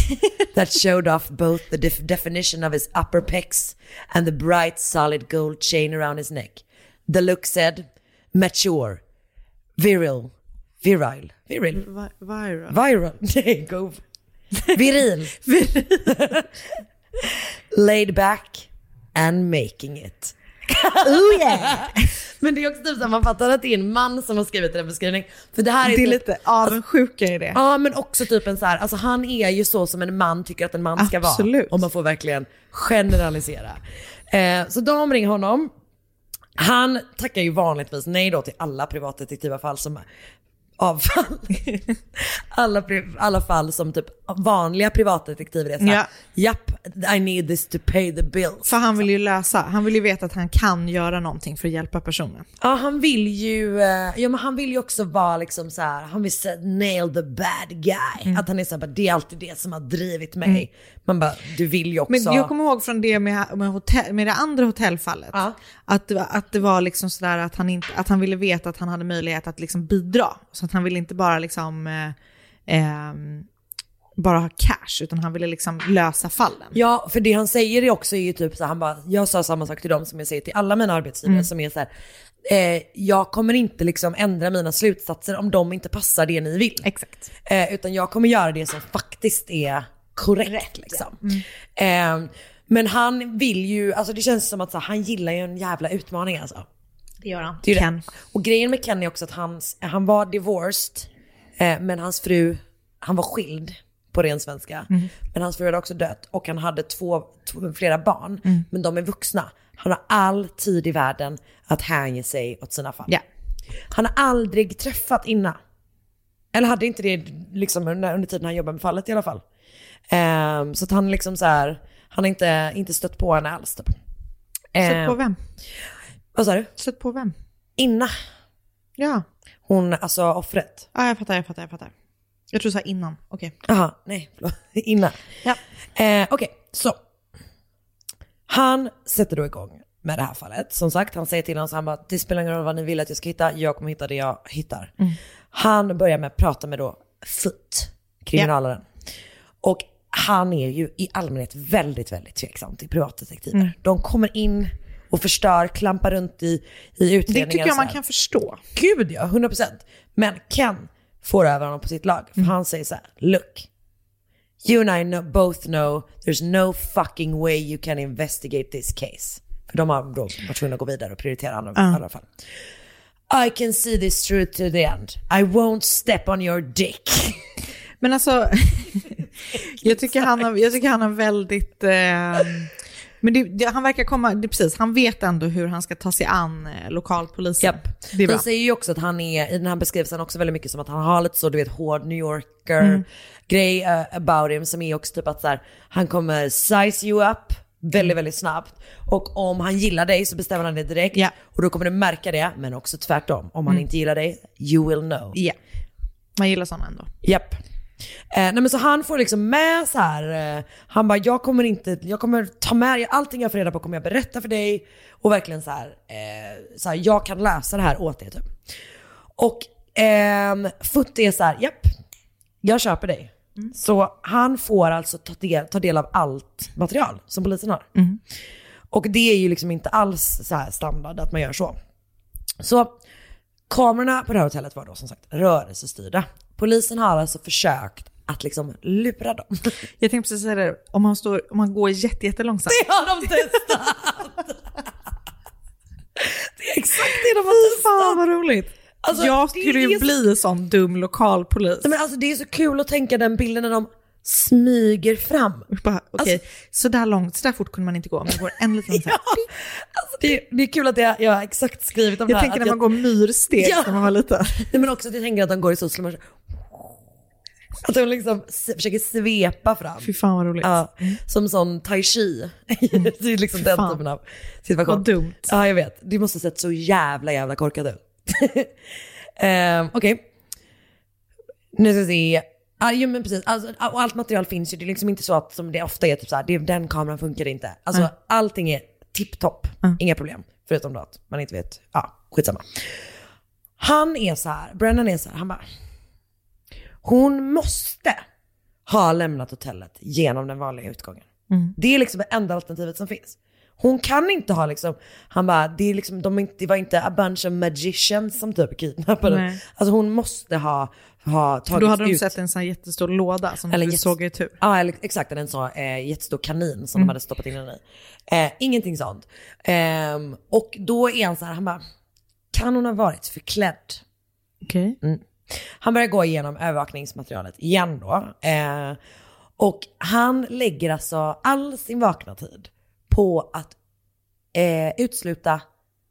Speaker 2: that showed off both the def- definition of his upper pecs and the bright, solid gold chain around his neck. The look said, mature, virile, virile, virile,
Speaker 1: Vi- Viral.
Speaker 2: Viral. Nej, go. Viril. Laid back and making it.
Speaker 7: Oh yeah!
Speaker 2: Men det är också typ så att man fattar att det är en man som har skrivit den här beskrivningen. För det här är,
Speaker 1: Det är
Speaker 2: typ-
Speaker 1: lite avundsjuka i det.
Speaker 2: Ja men också typ en så här, alltså han är ju så som en man tycker att en man ska
Speaker 1: Absolut.
Speaker 2: vara. Om man får verkligen generalisera. Eh, så de ringer honom. Han tackar ju vanligtvis nej då till alla privatdetektiva fall som avfall. alla, pri- alla fall som typ vanliga privatdetektiver är så här, Japp, I need this to pay the bills.
Speaker 1: För han vill ju lösa, han vill ju veta att han kan göra någonting för att hjälpa personen.
Speaker 2: Ja han vill ju, eh, ja men han vill ju också vara liksom så här, han vill säga nail the bad guy. Att han är såhär, det är alltid det som har drivit mig.
Speaker 1: Mm.
Speaker 2: Man bara, du vill ju också.
Speaker 1: Men jag kommer ihåg från det med, med, hotell, med det andra hotellfallet, att, det var- att det var liksom sådär att han, inte, att han ville veta att han hade möjlighet att liksom bidra. Så att han ville inte bara liksom, eh, ehm, bara ha cash, utan han ville liksom lösa fallen.
Speaker 2: Ja, för det han säger är också är ju typ så här, han bara, jag sa samma sak till dem som jag säger till alla mina arbetsgivare
Speaker 1: Mm.
Speaker 2: som är så här, eh, jag kommer inte liksom ändra mina slutsatser om de inte passar det ni vill.
Speaker 1: Exakt.
Speaker 2: Eh, utan jag kommer göra det som faktiskt är korrekt. liksom.
Speaker 1: Mm.
Speaker 2: Eh, men han vill ju, alltså det känns som att så här, han gillar ju en jävla utmaning alltså.
Speaker 1: Det gör han.
Speaker 2: Det är ju Det. Och grejen med Ken är också att hans, han var divorced, eh, men hans fru, han var skild på ren svenska.
Speaker 1: Mm.
Speaker 2: Men hans fru hade också dött och han hade två, två, flera barn,
Speaker 1: Mm.
Speaker 2: men de är vuxna. Han har all tid i världen att hänge sig åt sina fall. Han har aldrig träffat Inna. Eller hade inte det liksom, under, under tiden han jobbade med fallet i alla fall. Ehm, så att han liksom så här, han har inte, inte stött på henne alls typ.
Speaker 1: Sett
Speaker 2: Ehm,
Speaker 1: på vem?
Speaker 2: Vad sa du?
Speaker 1: Sett på vem?
Speaker 2: Inna.
Speaker 1: Ja.
Speaker 2: Hon, alltså offret.
Speaker 1: Ja, jag fattar, jag fattar, jag fattar. Jag tror du sa innan. Okej.
Speaker 2: Jaha, nej, förlåt. Innan.
Speaker 1: Ja.
Speaker 2: Eh, Okej, så. Han sätter då igång med det här fallet. Som sagt, han säger till honom så han bara, det spelar ingen roll vad ni vill att jag ska hitta, jag kommer hitta det jag hittar.
Speaker 1: Mm.
Speaker 2: Han börjar med att prata med då Foot, kriminalaren. Och han är ju i allmänhet väldigt, väldigt tveksam till privatdetektiver.
Speaker 1: Mm.
Speaker 2: De kommer in och förstör, klampar runt i, i utredningen.
Speaker 1: Det tycker jag
Speaker 2: så
Speaker 1: man
Speaker 2: här.
Speaker 1: kan förstå.
Speaker 2: Gud ja, 100 procent. Men Ken får över honom på sitt lag.
Speaker 1: Mm.
Speaker 2: För han säger så här, look. You and I know, both know there's no fucking way you can investigate this case. För de har då varit tvungna att gå vidare och prioritera andra,
Speaker 1: Ja.
Speaker 2: andra fall. I can see this through to the end. I won't step on your dick.
Speaker 1: Men alltså, jag tycker han har, jag tycker han har väldigt... Eh, men det, det, han verkar komma... Det, precis, han vet ändå hur han ska ta sig an eh, lokalpolisen. Det är
Speaker 2: De
Speaker 1: bra.
Speaker 2: säger ju också att han är, i den här beskrivelsen också väldigt mycket som att han har lite så, du vet, hård New Yorker
Speaker 1: Mm.
Speaker 2: grej eh, about him som är också typ att så här, han kommer size you up
Speaker 1: Mm.
Speaker 2: väldigt, väldigt snabbt. Och om han gillar dig så bestämmer han det direkt. Och då kommer du märka det, men också tvärtom. Om han
Speaker 1: Mm.
Speaker 2: inte gillar dig, you will know.
Speaker 1: Ja. Man gillar sådana ändå.
Speaker 2: Japp. Eh, nej men så han får liksom med så här, eh, han bara jag kommer inte, jag kommer ta med dig, allting jag får reda på kommer jag berätta för dig. Och verkligen så här, eh, så här jag kan läsa det här åt dig typ. Och ehm, Futt är så här, japp, jag köper dig. Så han får alltså ta del, ta del av allt material som polisen har. Och det är ju liksom inte alls så här standard att man gör så. Så kamerorna på det här hotellet var då som sagt rörelsestyrda. Polisen har alltså försökt att liksom lura dem.
Speaker 1: Jag tänkte precis säga det, om man, står, om man går jätte, jättelångsamt.
Speaker 2: Det har de testat! det är exakt det de har testat.
Speaker 1: Fan vad roligt.
Speaker 2: Alltså,
Speaker 1: jag
Speaker 2: det
Speaker 1: skulle
Speaker 2: är
Speaker 1: ju
Speaker 2: så-
Speaker 1: bli sån dum lokalpolis.
Speaker 2: Nej, men alltså, det är så kul att tänka den bilden när de smyger fram.
Speaker 1: Bara, Okej,
Speaker 2: Alltså-
Speaker 1: så där långt, så där fort kunde man inte gå, men det går en liten ja,
Speaker 2: Alltså, det, är- det är kul att jag, jag har exakt skrivit om
Speaker 1: Jag
Speaker 2: det här.
Speaker 1: tänker
Speaker 2: att
Speaker 1: när man går myrsteg
Speaker 2: Ja.
Speaker 1: när man var liten.
Speaker 2: Nej, men också att jag tänker att de går i så slow motion. Att de liksom s- försöker svepa fram.
Speaker 1: Fy fan vad roligt. Mm.
Speaker 2: Ja, som sån tai chi. det är liksom
Speaker 1: Fy
Speaker 2: den
Speaker 1: fan.
Speaker 2: typen av situation.
Speaker 1: Vad dumt.
Speaker 2: Ja, jag vet. Det måste ha sett så jävla, jävla korkat ut. um, Okej. Nu ska vi se. Ja, jo, men precis. Alltså, och allt material finns ju. Det är liksom inte så att som det ofta är, typ så här, det är, den kameran funkar inte. Alltså,
Speaker 1: Nej.
Speaker 2: allting är tipptopp. Inga problem. Förutom då att man inte vet. Ja, skitsamma. Han är så här, Brennan är så här, han bara. Hon måste ha lämnat hotellet genom den vanliga utgången.
Speaker 1: Mm.
Speaker 2: Det är liksom det enda alternativet som finns. Hon kan inte ha liksom, han bara, det, är liksom, de är inte, det var inte a bunch of magicians som typ kidnappade henne.
Speaker 1: Nej.
Speaker 2: Alltså hon måste ha, ha
Speaker 1: För
Speaker 2: tagit
Speaker 1: då hade de
Speaker 2: ut.
Speaker 1: sett en sån här jättestor låda som
Speaker 2: Eller
Speaker 1: du
Speaker 2: jättes-
Speaker 1: såg i tur.
Speaker 2: Ja, eller, exakt. En sån eh, jättestor kanin som
Speaker 1: Mm.
Speaker 2: de hade stoppat in henne i. Eh, ingenting sånt. Ehm, och då är han så här, han bara, kan hon ha varit förklädd?
Speaker 1: Okej.
Speaker 2: Mm. Han börjar gå igenom övervakningsmaterialet igen då. Eh, och han lägger alltså all sin vakna tid på att eh, utsluta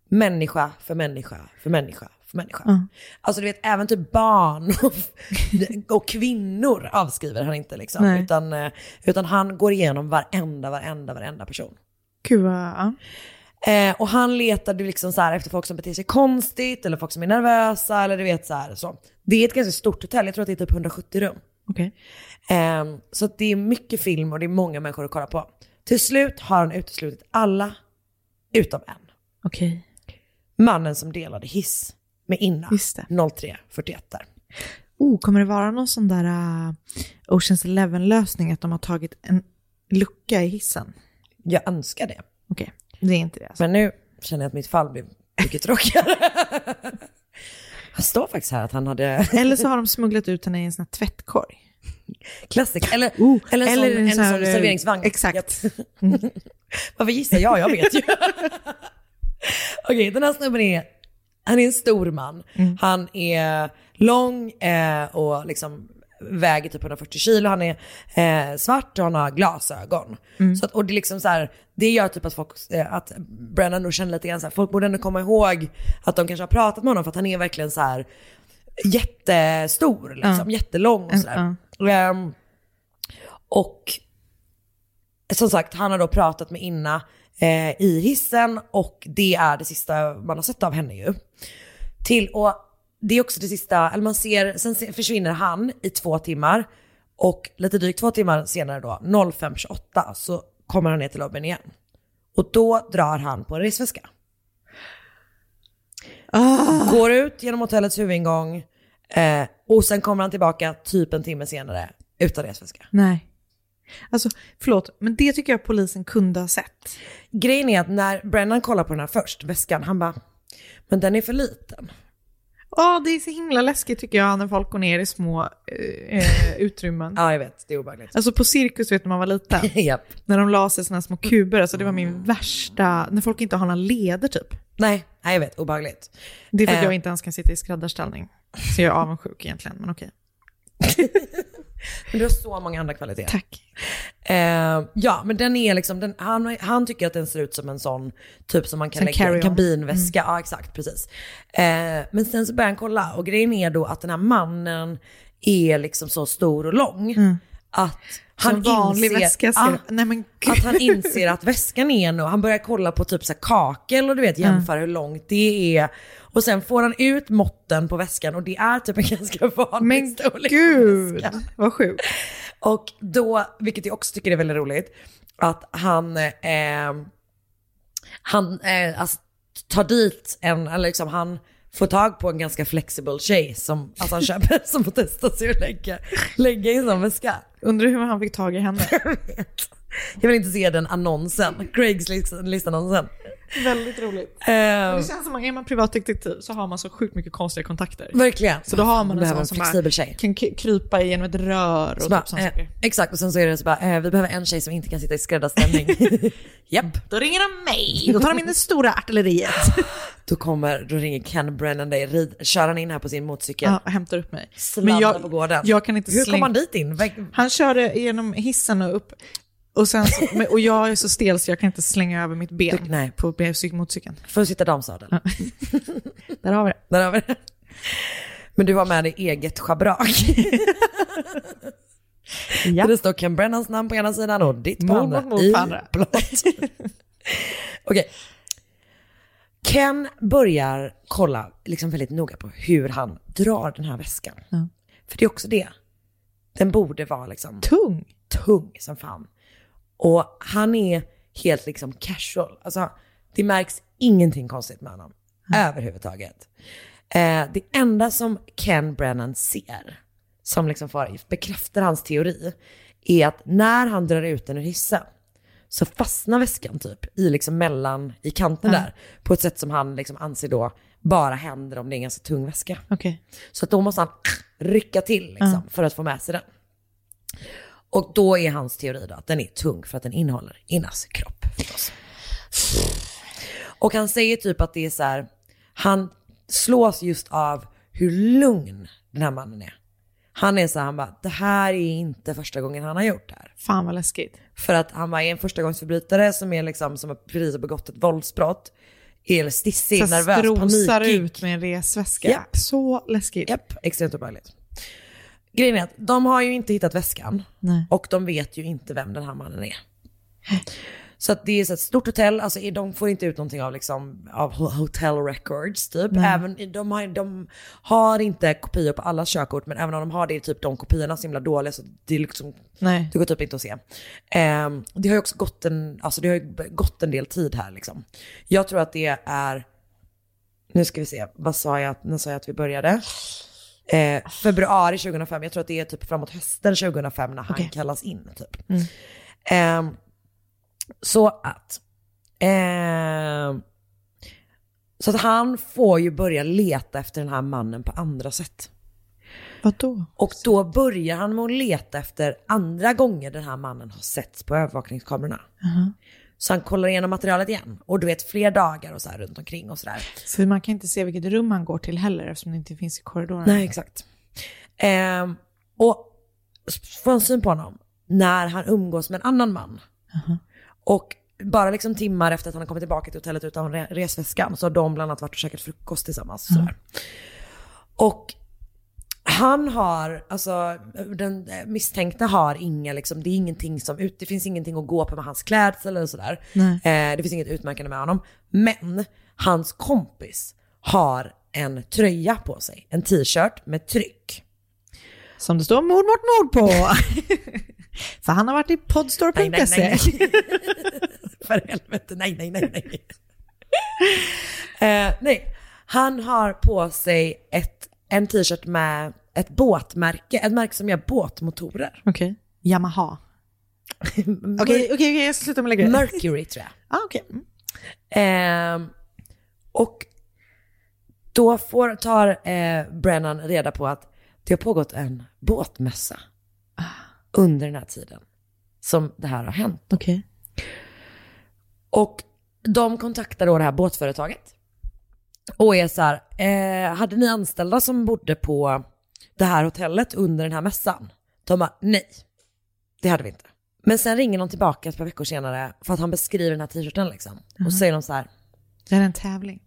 Speaker 2: människa för människa för människa för människa.
Speaker 1: Ja.
Speaker 2: Alltså du vet, även typ barn och, och kvinnor avskriver han inte liksom.
Speaker 1: Nej.
Speaker 2: Utan, eh, utan han går igenom varenda, varenda, varenda person.
Speaker 1: Gud vad, ja.
Speaker 2: Eh, och han letade liksom så här efter folk som beter sig konstigt eller folk som är nervösa eller du vet så här. Så. Det är ett ganska stort hotell, jag tror att det är typ 170 rum.
Speaker 1: Okej.
Speaker 2: Ehm, så att det är mycket film och det är många människor att kolla på. Till slut har han uteslutit alla utom en.
Speaker 1: Okej.
Speaker 2: Mannen som delade hiss med Inna
Speaker 1: Just det.
Speaker 2: 03.41 där.
Speaker 1: Oh, kommer det vara någon sån där uh, Oceans Eleven-lösning att de har tagit en lucka i hissen?
Speaker 2: Jag önskar det.
Speaker 1: Okej, det är inte det. Alltså.
Speaker 2: Men nu känner jag att mitt fall blev mycket tråkigare. Det står faktiskt här att han hade
Speaker 1: Eller så har de smugglat ut henne i en sån här tvättkorg.
Speaker 2: klassiker. Eller,
Speaker 1: Oh,
Speaker 2: eller,
Speaker 1: eller
Speaker 2: en, sån,
Speaker 1: en
Speaker 2: en
Speaker 1: sån här,
Speaker 2: sån
Speaker 1: eh,
Speaker 2: serveringsvagn.
Speaker 1: exakt.
Speaker 2: Japp. Varför gissar jag? Jag vet ju. Okej, den här snubben är, han är en stor man.
Speaker 1: Mm.
Speaker 2: Han är lång eh, och liksom väger typ 140 kilo. Han är eh, svart och han har glasögon.
Speaker 1: Mm.
Speaker 2: Så att, och det, är liksom så här, det gör typ att, folk, eh, att Brennan då känner lite grann så här, folk borde ändå komma ihåg att de kanske har pratat med honom för att han är verkligen så här jättestor, liksom,
Speaker 1: Ja.
Speaker 2: jättelång och
Speaker 1: En-
Speaker 2: sådär. Ehm, och som sagt, han har då pratat med Inna eh, i hissen och det är det sista man har sett av henne ju. Till, och det är också det sista, eller man ser, sen se- försvinner han i två timmar och lite drygt två timmar senare då, 05.28, så kommer han ner till lobbyn igen. Och då drar han på en resväska. Går ut genom hotellets huvudingång eh, och sen kommer han tillbaka typ en timme senare utan resväska.
Speaker 1: Nej. Alltså, förlåt, men det tycker jag polisen kunde ha sett.
Speaker 2: Grejen är att när Brennan kollar på den här först, väskan, han bara, men den är för liten.
Speaker 1: Ja, det är så himla läskigt tycker jag när folk går ner i små eh, eh, utrymmen.
Speaker 2: Ja, jag vet, det är obehagligt.
Speaker 1: Alltså på cirkus vet när man var liten,
Speaker 2: Japp.
Speaker 1: när de la sig i såna här små kuber, alltså det var min värsta, när folk inte har några leder typ.
Speaker 2: Nej, nej, jag vet, obehagligt.
Speaker 1: Det är för att
Speaker 2: Eh.
Speaker 1: jag inte ens kan sitta i skräddarställning. Så jag är avundsjuk egentligen, men okej.
Speaker 2: Men du har så många andra kvaliteter.
Speaker 1: Tack.
Speaker 2: Eh, ja, men den är liksom, den, han, han tycker att den ser ut som en sån typ som man kan
Speaker 1: Som
Speaker 2: lägga i en
Speaker 1: carry-on.
Speaker 2: kabinväska. Ja, exakt, precis. Eh, men sen så börjar han kolla och grejen är då att den här mannen är liksom så stor och lång att
Speaker 1: Mm, Som
Speaker 2: han
Speaker 1: vanlig
Speaker 2: inser...
Speaker 1: väska ska...
Speaker 2: Ah,
Speaker 1: Nej men
Speaker 2: att han
Speaker 1: gud.
Speaker 2: inser att väskan är en och han börjar kolla på typ så här kakel och du vet jämföra hur långt det är. Och sen får han ut måtten på väskan och det är typ en ganska vanlig
Speaker 1: Men
Speaker 2: storlek på
Speaker 1: gud,
Speaker 2: väskan.
Speaker 1: vad sjukt.
Speaker 2: Och då, vilket jag också tycker är väldigt roligt, att han, eh, han eh, alltså, tar dit en, eller liksom han får tag på en ganska flexible tjej som alltså han köper som får testa sig att lägga, lägga i en sån väska.
Speaker 1: Undrar hur han fick tag i henne.
Speaker 2: Jag vill inte se den annonsen. Craigslist-annonsen.
Speaker 1: Väldigt roligt.
Speaker 2: Ehm.
Speaker 1: Men det känns som att är man privatdetektiv så har man så sjukt mycket konstiga kontakter.
Speaker 2: Verkligen.
Speaker 1: Så då har man en
Speaker 2: Behöver
Speaker 1: sån
Speaker 2: en
Speaker 1: som
Speaker 2: flexibel
Speaker 1: bara
Speaker 2: tjej.
Speaker 1: kan k- krypa genom ett rör och
Speaker 2: Så
Speaker 1: typ
Speaker 2: bara,
Speaker 1: sådana
Speaker 2: eh,
Speaker 1: saker.
Speaker 2: exakt, och sen så är det så bara, eh, vi behöver en tjej som inte kan sitta i skräddarställning. Japp.
Speaker 1: Då ringer de mig. Då tar de in det stora artilleriet.
Speaker 2: Då kommer, då ringer Ken Brennan dig, rid, kör han in här på sin motorcykel.
Speaker 1: Ja, och hämtar upp mig.
Speaker 2: Sladdar
Speaker 1: jag-
Speaker 2: på gården.
Speaker 1: jag kan inte
Speaker 2: Hur
Speaker 1: släng-
Speaker 2: kom han dit in? Väg-
Speaker 1: Han körde genom hissen och upp. Och, sen, så- men- och jag är så stel så jag kan inte slänga över mitt ben
Speaker 2: Du- nej.
Speaker 1: på cyk- motorcykeln.
Speaker 2: För att sitta damsadel.
Speaker 1: Där har vi det.
Speaker 2: Där har vi det. Men du har med dig eget schabrak. Där Det står Ken Brennans namn på ena sidan och ditt på
Speaker 1: Mord
Speaker 2: andra.
Speaker 1: mot mord
Speaker 2: i
Speaker 1: på andra.
Speaker 2: blått. Okej. Ken börjar kolla liksom väldigt noga på hur han drar den här väskan.
Speaker 1: Ja.
Speaker 2: För det är också det. Den borde vara liksom
Speaker 1: Tung.
Speaker 2: tung som fan. Och han är helt liksom casual. Alltså, det märks ingenting konstigt med honom. Överhuvudtaget. Eh, det enda som Ken Brennan ser, som liksom får, bekräftar hans teori, är att när han drar ut den ur hissen så fastnar väskan typ i liksom mellan, i kanten
Speaker 1: Ja.
Speaker 2: där. På ett sätt som han liksom anser då bara händer om det är en ganska tung väska.
Speaker 1: Okej. Ah.
Speaker 2: Så att då måste han rycka till liksom, för att få med sig den. Och då är hans teori då att den är tung för att den innehåller Innas kropp förstås. Och han säger typ att det är så här, han slås just av hur lugn den här mannen är. Han är så här, han bara, det här är inte första gången han har gjort det här.
Speaker 1: Fan vad läskigt.
Speaker 2: För att han var en förstagångsförbrytare som är liksom, som har precis har begått ett våldsbrott. Är stissig,
Speaker 1: Så
Speaker 2: nervös,
Speaker 1: strosar
Speaker 2: panikig.
Speaker 1: ut med en resväska.
Speaker 2: Japp.
Speaker 1: Så läskigt.
Speaker 2: Japp, extremt obehagligt. Grejen är att de har ju inte hittat väskan
Speaker 1: Nej.
Speaker 2: och de vet ju inte vem den här mannen är. Så att det är så ett stort hotell, alltså är- de får inte ut någonting av, liksom, av ho- hotel records typ.
Speaker 1: Nej.
Speaker 2: Även, i- de, har, de har inte kopior på alla körkort men även om de har det är typ de kopiorna så himla dåliga så det, är liksom,
Speaker 1: Nej.
Speaker 2: det går typ inte att se. Ehm, det har ju också gått en, alltså det har ju gått en del tid här liksom. Jag tror att det är nu ska vi se, vad sa jag, när sa jag att vi började? Eh, februari 2005, jag tror att det är typ framåt hösten 2005 när han
Speaker 1: Okej.
Speaker 2: kallas in. Typ.
Speaker 1: Mm.
Speaker 2: Ehm, så att... ehm, så att han får ju börja leta efter den här mannen på andra sätt.
Speaker 1: Vadå?
Speaker 2: Och då börjar han med att leta efter andra gånger den här mannen har setts på övervakningskamerorna.
Speaker 1: Jaha.
Speaker 2: Så han kollar igenom materialet igen. Och du vet fler dagar och så här runt omkring och sådär.
Speaker 1: Så man kan inte se vilket rum han går till heller eftersom det inte finns i korridoren.
Speaker 2: Nej, exakt. Ehm, och s- få en syn på honom när han umgås med en annan man. Och bara liksom timmar efter att han har kommit tillbaka till hotellet utan re- resväskan så har de bland annat varit och käkat frukost tillsammans. och Sådär. Och han har, alltså den eh, misstänkta har inga, liksom, det är ingenting som, ut- det finns ingenting att gå på med hans klädsel eller sådär.
Speaker 1: Nej.
Speaker 2: Eh, det finns inget utmärkande med honom. Men hans kompis har en tröja på sig, en t-shirt med tryck.
Speaker 1: Som det står mord mot mord på. För han har varit i
Speaker 2: Nej, nej, nej,
Speaker 1: podstore.se.
Speaker 2: nej. För helvete, nej, nej, nej, nej. Eh, nej, han har på sig ett, en t-shirt med ett båtmärke, ett märke som gör båtmotorer.
Speaker 1: Okej. Yamaha. Okej, okej, okej, jag ska sluta med lägga det.
Speaker 2: Mercury tror jag.
Speaker 1: Ah, okej. Mm.
Speaker 2: Ehm, och då får, tar eh, Brennan reda på att det har pågått en båtmässa Ah. under den här tiden som det här har hänt.
Speaker 1: Okej.
Speaker 2: Och de kontaktar då det här båtföretaget och är så här, eh, hade ni anställda som bodde på det här hotellet under den här mässan? De bara, nej, det hade vi inte. Men sen ringer de tillbaka ett par veckor senare för att han beskriver den här t-shirten liksom. Och så säger de så här,
Speaker 1: Det här är en tävling.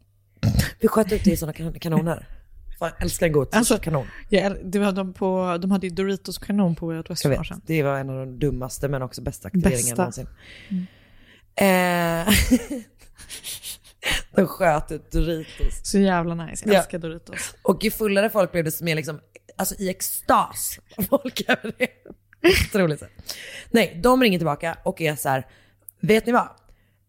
Speaker 2: vi sköt ut det i sådana kan- kanoner. Fan, jag älskar en god
Speaker 1: Alltså,
Speaker 2: kanon.
Speaker 1: Ja, det var de, på, de hade ju Doritos kanon på Way Out West
Speaker 2: Jag
Speaker 1: för några år
Speaker 2: vet,
Speaker 1: sedan.
Speaker 2: det var en av de dummaste men också bästa aktiveringarna
Speaker 1: Bästa.
Speaker 2: någonsin. Eh, de sköt ut Doritos.
Speaker 1: Så jävla nice. Jag
Speaker 2: Ja.
Speaker 1: älskar Doritos.
Speaker 2: Och ju fullare folk blev desto mer liksom, alltså i extas var folk över det. Otroligt. Nej, de ringer tillbaka och är så här, vet ni vad?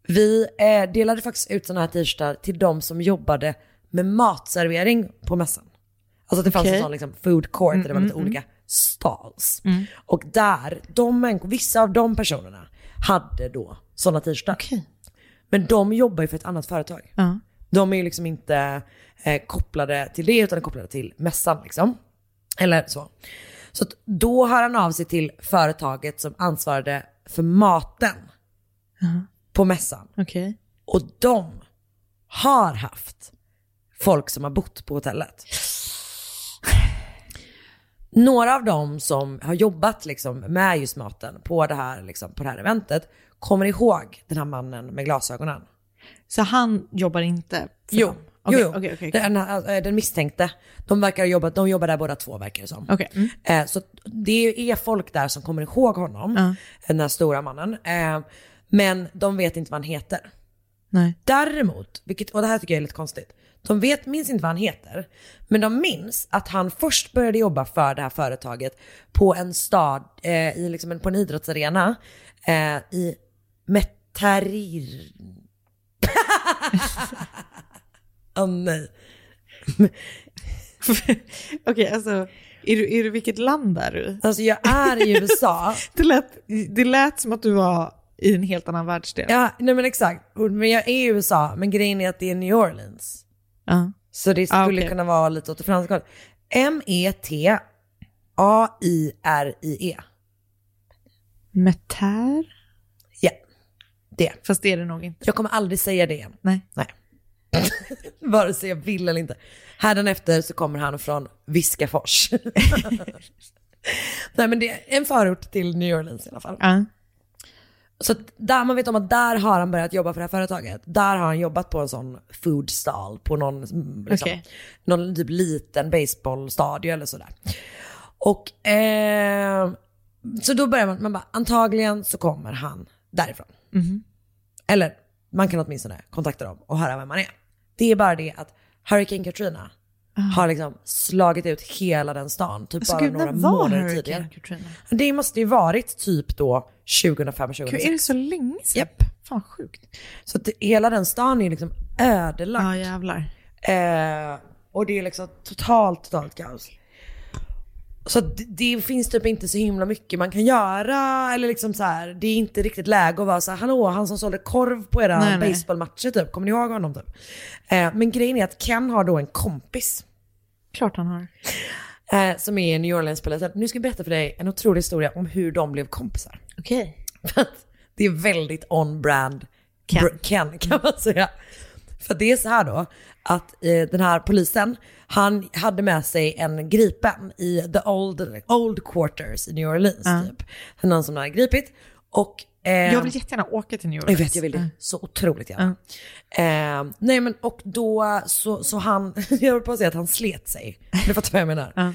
Speaker 2: Vi eh, delade faktiskt ut sådana här t-shirtar till de som jobbade med matservering på mässan. Alltså det fanns
Speaker 1: Okej.
Speaker 2: en sån liksom food court där det var lite olika stalls. Och där, de, människor- vissa av de personerna hade då sådana t-shirtar. Men de jobbar ju för ett annat företag.
Speaker 1: Ja.
Speaker 2: De är ju liksom inte eh, kopplade till det utan är kopplade till mässan liksom. Eller så. Så att då hör han av sig till företaget som ansvarade för maten på mässan.
Speaker 1: Okej.
Speaker 2: Och de har haft folk som har bott på hotellet. Några av dem som har jobbat liksom med just maten på det, här, liksom, på det här eventet kommer ihåg den här mannen med glasögonen.
Speaker 1: Så han jobbar inte? för
Speaker 2: Jo,
Speaker 1: dem? Okej,
Speaker 2: jo, jo.
Speaker 1: okej, okej.
Speaker 2: Den, här, eh, den misstänkte. De, verkar ha jobbat, de jobbar där båda två verkar det som.
Speaker 1: Okej, mm.
Speaker 2: Eh, Så det är folk där som kommer ihåg honom,
Speaker 1: Ja.
Speaker 2: den här stora mannen. Eh, Men de vet inte vad han heter.
Speaker 1: Nej.
Speaker 2: Däremot, vilket, och det här tycker jag är lite konstigt, de vet, minns inte vad han heter, men de minns att han först började jobba för det här företaget på en stad, eh, i liksom en, på en idrottsarena eh, i Metarir... Åh nej.
Speaker 1: Okej, alltså, är du, är du, vilket land är du
Speaker 2: Alltså jag är i USA.
Speaker 1: det, lät, det lät som att du var i en helt annan världsdel.
Speaker 2: Ja, nej men exakt. Och- Men jag är i USA, men grejen är att det är New Orleans.
Speaker 1: Ja.
Speaker 2: Så det skulle
Speaker 1: Ah, okej.
Speaker 2: kunna vara lite åt det franska hållet. E M-E-T-A-I-R-I-E.
Speaker 1: Metär?
Speaker 2: Ja, det.
Speaker 1: Fast det är det nog inte.
Speaker 2: Jag kommer aldrig säga det igen.
Speaker 1: Nej.
Speaker 2: Nej. Vare sig jag vill eller inte. Hädanefter så kommer han från Viskafors. Nej men det är en förort till New Orleans i alla fall.
Speaker 1: Ja.
Speaker 2: Så att där man vet om att där har han börjat jobba för det här företaget. Där har han jobbat på en sån food stall på någon, mm, liksom,
Speaker 1: Okej.
Speaker 2: någon typ liten baseballstadion eller sådär. Och eh, så då börjar man, man bara, antagligen så kommer han därifrån.
Speaker 1: Mhm.
Speaker 2: Eller man kan åtminstone kontakta dem och höra vem man är. Det är bara det att Hurricane Katrina har liksom slagit ut hela den stan, typ
Speaker 1: Ah. Alltså
Speaker 2: bara
Speaker 1: gud,
Speaker 2: några
Speaker 1: när var
Speaker 2: månader
Speaker 1: Hurricane
Speaker 2: tidigare.
Speaker 1: Katrina?
Speaker 2: Det måste ju varit typ då 2005,
Speaker 1: Gud, är
Speaker 2: 2006.
Speaker 1: det så länge sedan?
Speaker 2: Japp.
Speaker 1: Fan sjukt.
Speaker 2: Så att det, hela den stan är liksom ödelagd.
Speaker 1: Ja, jävlar.
Speaker 2: Eh, och det är liksom totalt, totalt kaos. Så att det, det finns typ inte så himla mycket man kan göra. Eller liksom så här, det är inte riktigt läge att vara så här, hallå han som sålde korv på era
Speaker 1: Nej, nej.
Speaker 2: baseballmatcher typ, kommer ni ihåg honom typ? Eh, men grejen är att Ken har då en kompis
Speaker 1: Klart han har.
Speaker 2: eh, som är New Orleans-polisen. Nu ska jag berätta för dig en otrolig historia om hur de blev kompisar.
Speaker 1: Okej.
Speaker 2: För att det är väldigt on-brand Ken. Ken kan man säga. För det är så här då, att eh, den här polisen, han hade med sig en gripen i the old, old quarters i New Orleans.
Speaker 1: Ja.
Speaker 2: Typ. Någon som hade gripit. Och, eh,
Speaker 1: Jag vill jättegärna åka till New
Speaker 2: jag
Speaker 1: Orleans.
Speaker 2: vet, jag vill det så otroligt gärna. Eh, nej men och då så, så han, jag höll på att säga att han slet sig. Du fattar vad jag menar.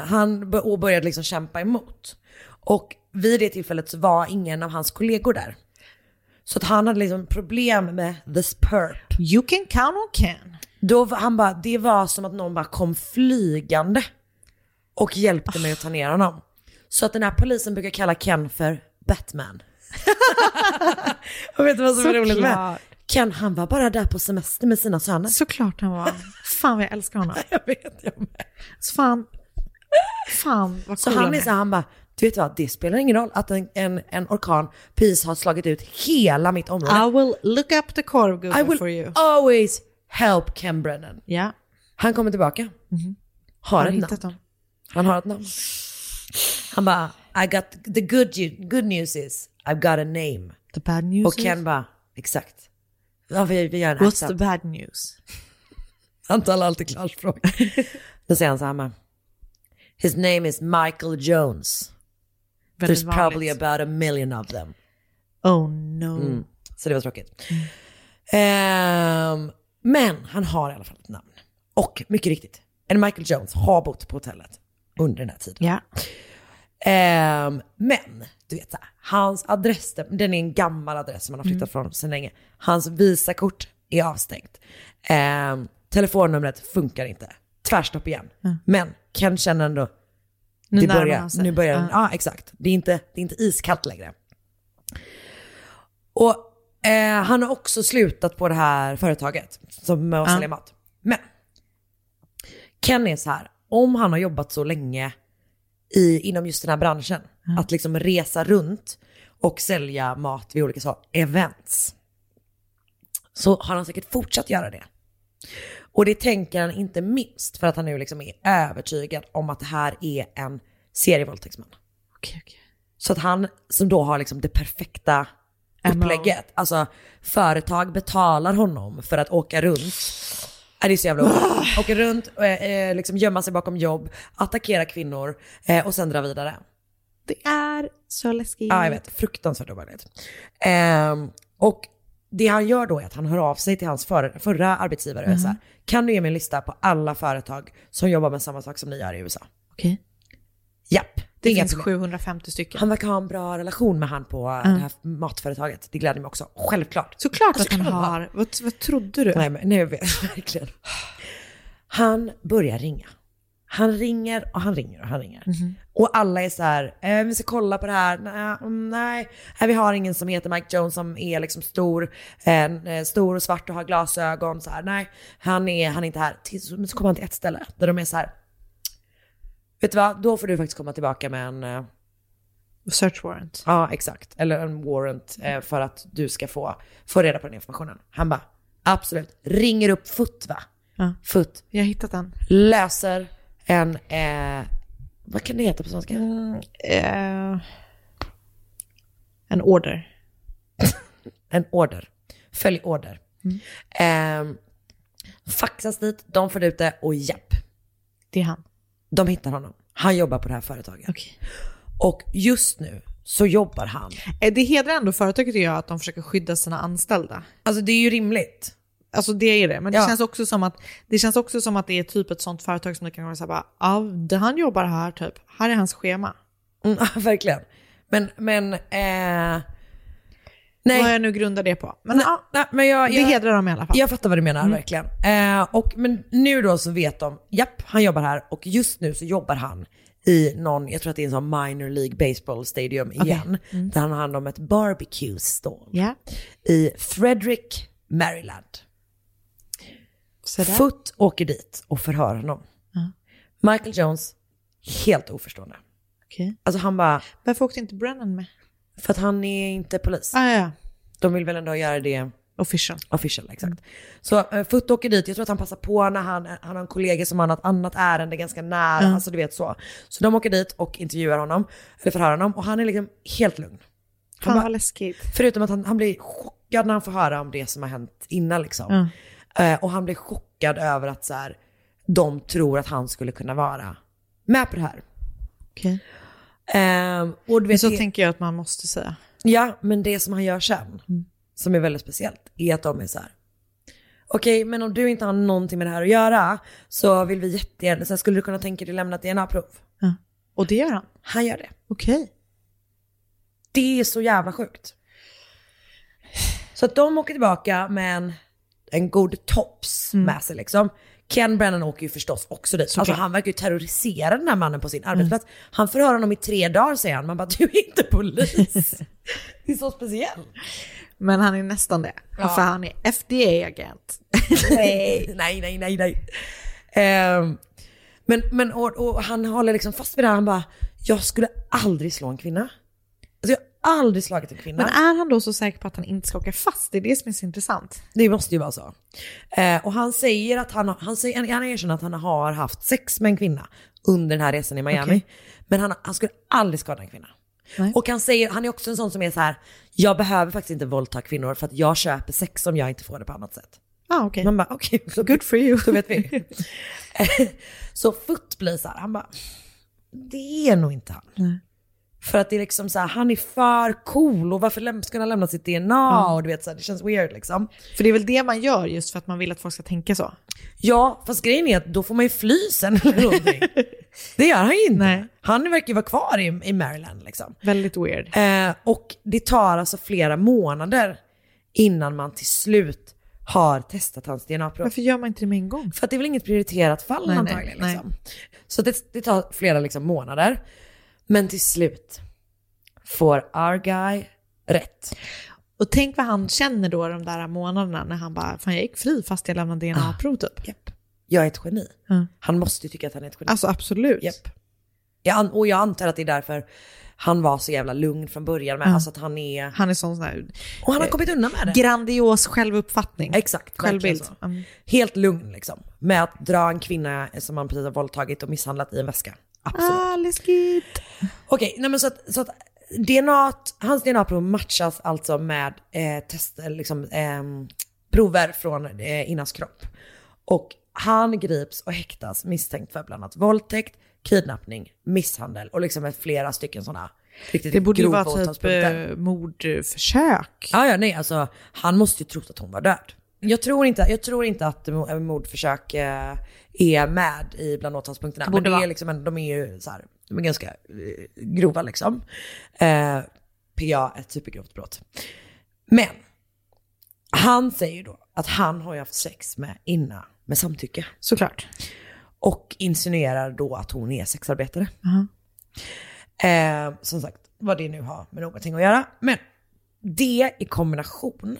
Speaker 2: Eh, han bör- och började liksom kämpa emot. Och vid det tillfället så var ingen av hans kollegor där. Så att han hade liksom problem med this perp.
Speaker 1: You can count on Ken.
Speaker 2: Då var, han bara, det var som att någon bara kom flygande och hjälpte mig att ta ner honom. Så att den här polisen brukar kalla Ken för Batman. och vet du vad som är roligt med?
Speaker 1: Såklart.
Speaker 2: Ken han var bara där på semester med sina söner.
Speaker 1: Såklart han var. Fan vad jag älskar honom.
Speaker 2: Jag vet, jag med.
Speaker 1: Så fan, fan vad
Speaker 2: Så
Speaker 1: cool
Speaker 2: han är så här, han bara, du vet vad, det spelar ingen roll att en, en, en orkan precis har slagit ut hela mitt område.
Speaker 1: I will look up the
Speaker 2: I
Speaker 1: korvgubbe for
Speaker 2: will
Speaker 1: you.
Speaker 2: always help Ken Brennan.
Speaker 1: Ja,
Speaker 2: Han kommer tillbaka. Har,
Speaker 1: har
Speaker 2: ett
Speaker 1: du
Speaker 2: namn.
Speaker 1: hittat dem?
Speaker 2: Han har ett namn. Han bara, I got the good, ju- good news is I've got a name.
Speaker 1: The bad news
Speaker 2: Och Ken bara, exakt. Ja, vi, vi gör en
Speaker 1: is? What's the
Speaker 2: accent.
Speaker 1: bad news?
Speaker 2: Han talar alltid klarspråk. Då säger han så här med, His name is Michael Jones.
Speaker 1: Väldigt
Speaker 2: There's probably
Speaker 1: vanligt.
Speaker 2: about a million of them.
Speaker 1: Oh no.
Speaker 2: Mm. Så det var tråkigt. Ehm, men han har i alla fall ett namn. Och mycket riktigt, en Michael Jones har bott på hotellet under den här tiden.
Speaker 1: Ja.
Speaker 2: Ehm, men, du vet så här, hans adress, den är en gammal adress som han har flyttat från sedan länge. Hans visakort är avstängt. Ehm, telefonnumret funkar inte. Tvärstopp igen. Men Ken känner ändå,
Speaker 1: Nu
Speaker 2: det
Speaker 1: närmar
Speaker 2: börjar,
Speaker 1: han sig.
Speaker 2: nu börjar
Speaker 1: Ja.
Speaker 2: den, ja exakt. Det är, inte, det är inte iskallt längre. Och eh, han har också slutat på det här företaget som med att
Speaker 1: Ja.
Speaker 2: sälja mat. Men Ken är så här, om han har jobbat så länge i, inom just den här branschen, att liksom resa runt
Speaker 3: och sälja mat vid olika så, events. Så har han säkert fortsatt göra det. Och det tänker han inte minst för att han nu liksom är övertygad om att det här är en serievåldtäktsman. Så att han som då har liksom det perfekta upplägget, alltså företag betalar honom för att åka runt. Äh, det är så jävla otäckt. Åka runt, eh, eh, liksom gömma sig bakom jobb, attackera kvinnor eh, och sen dra vidare.
Speaker 1: Det är så läskigt.
Speaker 3: Ja, jag vet. Fruktansvärt obehagligt. Ehm, och det han gör då är att han hör av sig till hans för, förra arbetsgivare och är
Speaker 1: Mhm.
Speaker 3: så här, kan du ge mig en lista på alla företag som jobbar med samma sak som ni gör i USA?
Speaker 1: Okej.
Speaker 3: Japp.
Speaker 1: Det
Speaker 3: inga
Speaker 1: finns
Speaker 3: problem.
Speaker 1: 750 stycken.
Speaker 3: Han verkar ha en bra relation med han på eh, det här matföretaget. Det gläder mig också. Självklart.
Speaker 1: Såklart
Speaker 3: Alltså,
Speaker 1: att han har. Vad, vad trodde du?
Speaker 3: Nej, men, nej, jag vet verkligen. Han börjar ringa. Han ringer och han ringer och han ringer.
Speaker 1: Mhm.
Speaker 3: Och alla är så här, eh, vi ska kolla på det här. Nej, mm, nej, Nej, vi har ingen som heter Mike Jones som är liksom stor, eh, eh, stor och svart och har glasögon. Så här, nej, han är, han är inte här. Tills- Men så kommer han till ett ställe där de är så här, vet du vad, då får du faktiskt komma tillbaka med en... eh,
Speaker 1: Search warrant.
Speaker 3: Ja, exakt. Eller en warrant eh, för att du ska få, få reda på den informationen. Han bara, absolut. Ringer upp FUT va?
Speaker 1: Ja.
Speaker 3: Foot.
Speaker 1: Jag har hittat den.
Speaker 3: Löser en, eh, vad kan det heta på svenska?
Speaker 1: Mm, Eh, en order.
Speaker 3: en order. Följ order. Eh, faxas dit, de får ut det och japp.
Speaker 1: Det är han.
Speaker 3: De hittar honom. Han jobbar på det här företaget. Och just nu så jobbar han.
Speaker 1: Eh, Det hedrar ändå företaget tycker jag att de försöker skydda sina anställda.
Speaker 3: Alltså det är ju rimligt.
Speaker 1: Alltså det är det, men det,
Speaker 3: Ja.
Speaker 1: känns också som att, det känns också som att det är typ ett sånt företag som det kan vara såhär bara, ja, det- han jobbar här typ, här är hans schema.
Speaker 3: Mm, ja, verkligen. Men, men, eh, nej.
Speaker 1: Vad jag nu grundar det på. Men,
Speaker 3: Nej,
Speaker 1: ja,
Speaker 3: nej, men jag,
Speaker 1: det
Speaker 3: jag,
Speaker 1: hedrar dem i alla fall.
Speaker 3: Jag fattar vad du menar,
Speaker 1: Mm.
Speaker 3: verkligen. Eh, och, men nu då så vet de, japp, han jobbar här och just nu så jobbar han i någon, jag tror att det är en sån minor League Baseball Stadium
Speaker 1: Okej.
Speaker 3: igen,
Speaker 1: Mm.
Speaker 3: där han har hand om ett barbecue stall
Speaker 1: Ja.
Speaker 3: i Frederick, Maryland.
Speaker 1: Så där.
Speaker 3: Foot åker dit och förhör honom.
Speaker 1: Ja.
Speaker 3: Michael Jones, helt oförstående.
Speaker 1: Okej.
Speaker 3: Alltså han bara,
Speaker 1: Varför åkte inte Brennan med?
Speaker 3: för att han är inte polis.
Speaker 1: Ah, ja, ja.
Speaker 3: De vill väl ändå göra det
Speaker 1: Official.
Speaker 3: Official, exakt. Så eh, Foot åker dit, jag tror att han passar på när han, eh, han har en kollega som har något annat ärende ganska nära,
Speaker 1: Ja.
Speaker 3: alltså du vet så. Så de åker dit och intervjuar honom, eller förhör honom, och han är liksom helt lugn. Han
Speaker 1: Fan
Speaker 3: bara-
Speaker 1: vad läskigt.
Speaker 3: Förutom att han, han blir chockad när han får höra om det som har hänt innan liksom.
Speaker 1: Ja.
Speaker 3: Eh, och han blir chockad över att så här, de tror att han skulle kunna vara med på det här.
Speaker 1: Okej.
Speaker 3: Ehm, och du
Speaker 1: Men
Speaker 3: vet,
Speaker 1: så
Speaker 3: det-
Speaker 1: tänker jag att man måste säga.
Speaker 3: Ja, men det som han gör sen,
Speaker 1: Mm.
Speaker 3: som är väldigt speciellt, är att de är så här. Okej, men om du inte har någonting med det här att göra så vill vi jättegärna, sen skulle du kunna tänka dig lämna ett DNA-prov.
Speaker 1: Och det gör han.
Speaker 3: Han gör det.
Speaker 1: Okej. Mm,
Speaker 3: Det är så jävla sjukt. Så att de åker tillbaka med en, en god tops med sig liksom. Ken Brennan åker ju förstås också dit. Alltså,
Speaker 1: Såklart.
Speaker 3: han verkar ju terrorisera den här mannen på sin arbetsplats.
Speaker 1: Mm.
Speaker 3: Han förhör honom i tre dagar säger han. Man bara, du är inte polis. det är så speciellt.
Speaker 1: Men han är nästan det.
Speaker 3: Ja.
Speaker 1: För han är FDA-agent.
Speaker 3: nej, nej, nej, nej. nej. Ehm, men men och, och han håller liksom fast vid det här. Han bara, jag skulle aldrig slå en kvinna. Alltså jag har aldrig slagit en kvinna.
Speaker 1: Men är han då så säker på att han inte ska åka fast? Det är det som är så intressant.
Speaker 3: Det måste ju vara så. Eh, och han säger att han, har- han, säger, han erkänner att han har haft sex med en kvinna under den här resan i Miami.
Speaker 1: Okej.
Speaker 3: Men han, han skulle aldrig skada en kvinna.
Speaker 1: Nej.
Speaker 3: Och han, säger, han är också en sån som är så här, jag behöver faktiskt inte våldta kvinnor för att jag köper sex om jag inte får det på annat sätt.
Speaker 1: Ja, ah, okej.
Speaker 3: Man bara, okej, så
Speaker 1: Good for you.
Speaker 3: Då vet vi. så Futt blir så här, han bara, det är nog inte han.
Speaker 1: Nej.
Speaker 3: För att det är liksom så här, han är för cool och varför läm- ska han lämna sitt DNA?
Speaker 1: Ja.
Speaker 3: Och du vet så här, det känns weird liksom.
Speaker 1: För det är väl det man gör just för att man vill att folk ska tänka så.
Speaker 3: Ja, fast grejen är att då får man ju fly sen eller någonting. det gör han ju inte.
Speaker 1: Nej.
Speaker 3: Han verkar ju vara kvar i, i Maryland liksom.
Speaker 1: Väldigt weird.
Speaker 3: Eh, och det tar alltså flera månader innan man till slut har testat hans DNA-prov.
Speaker 1: Varför gör man inte det med en gång?
Speaker 3: För att det är väl inget prioriterat fall
Speaker 1: Nej, nej,
Speaker 3: antagligen.
Speaker 1: nej.
Speaker 3: liksom. Så det, det tar flera liksom, månader. Men till slut får our guy rätt.
Speaker 1: Och tänk vad han känner då de där månaderna när han bara, fan jag gick fri fast jag lämnade DNA-prov typ.
Speaker 3: Ah, Japp. Jag är ett geni.
Speaker 1: Ja.
Speaker 3: Han måste ju tycka att han är ett geni.
Speaker 1: Alltså absolut.
Speaker 3: Japp. Jag an- och jag antar att det är därför
Speaker 2: han var så jävla lugn från början med.
Speaker 1: Ja.
Speaker 2: Alltså att han är...
Speaker 1: Han är sån sån här... eh,
Speaker 2: Och han har kommit undan med det.
Speaker 1: Grandios självuppfattning.
Speaker 2: Exakt,
Speaker 1: Självbild. Mm.
Speaker 2: verkligen så. Helt lugn liksom. Med att dra en kvinna som han precis har våldtagit och misshandlat i en väska. Absolut.
Speaker 1: Ah, läskigt.
Speaker 2: Okej, nej men så att, så att DNA, hans DNA-prov matchas alltså med eh, test, eh, liksom, ehm, prover från eh, Innas kropp. Och han grips och häktas misstänkt för bland annat våldtäkt, kidnappning, misshandel och liksom ett flera stycken sådana riktigt
Speaker 1: Det borde ju
Speaker 2: grova
Speaker 1: vara typ
Speaker 2: åtalspunkter.
Speaker 1: eh, mordförsök.
Speaker 2: Ja, ja, nej, alltså han måste ju trott att hon var död. Jag tror inte, jag tror inte att mo- eh, mordförsök eh, är med i bland åtalspunkterna.
Speaker 1: Det borde
Speaker 2: men det
Speaker 1: vara.
Speaker 2: är liksom, en- de är ju så här, de är ganska eh, grova liksom. Eh, PA, ett supergrovt brott. Men, han säger ju då att han har ju haft sex med Inna med samtycke.
Speaker 1: Såklart.
Speaker 2: Och insinuerar då att hon är sexarbetare.
Speaker 1: Aha.
Speaker 2: Eh, som sagt, vad det nu har med någonting att göra. Men det i kombination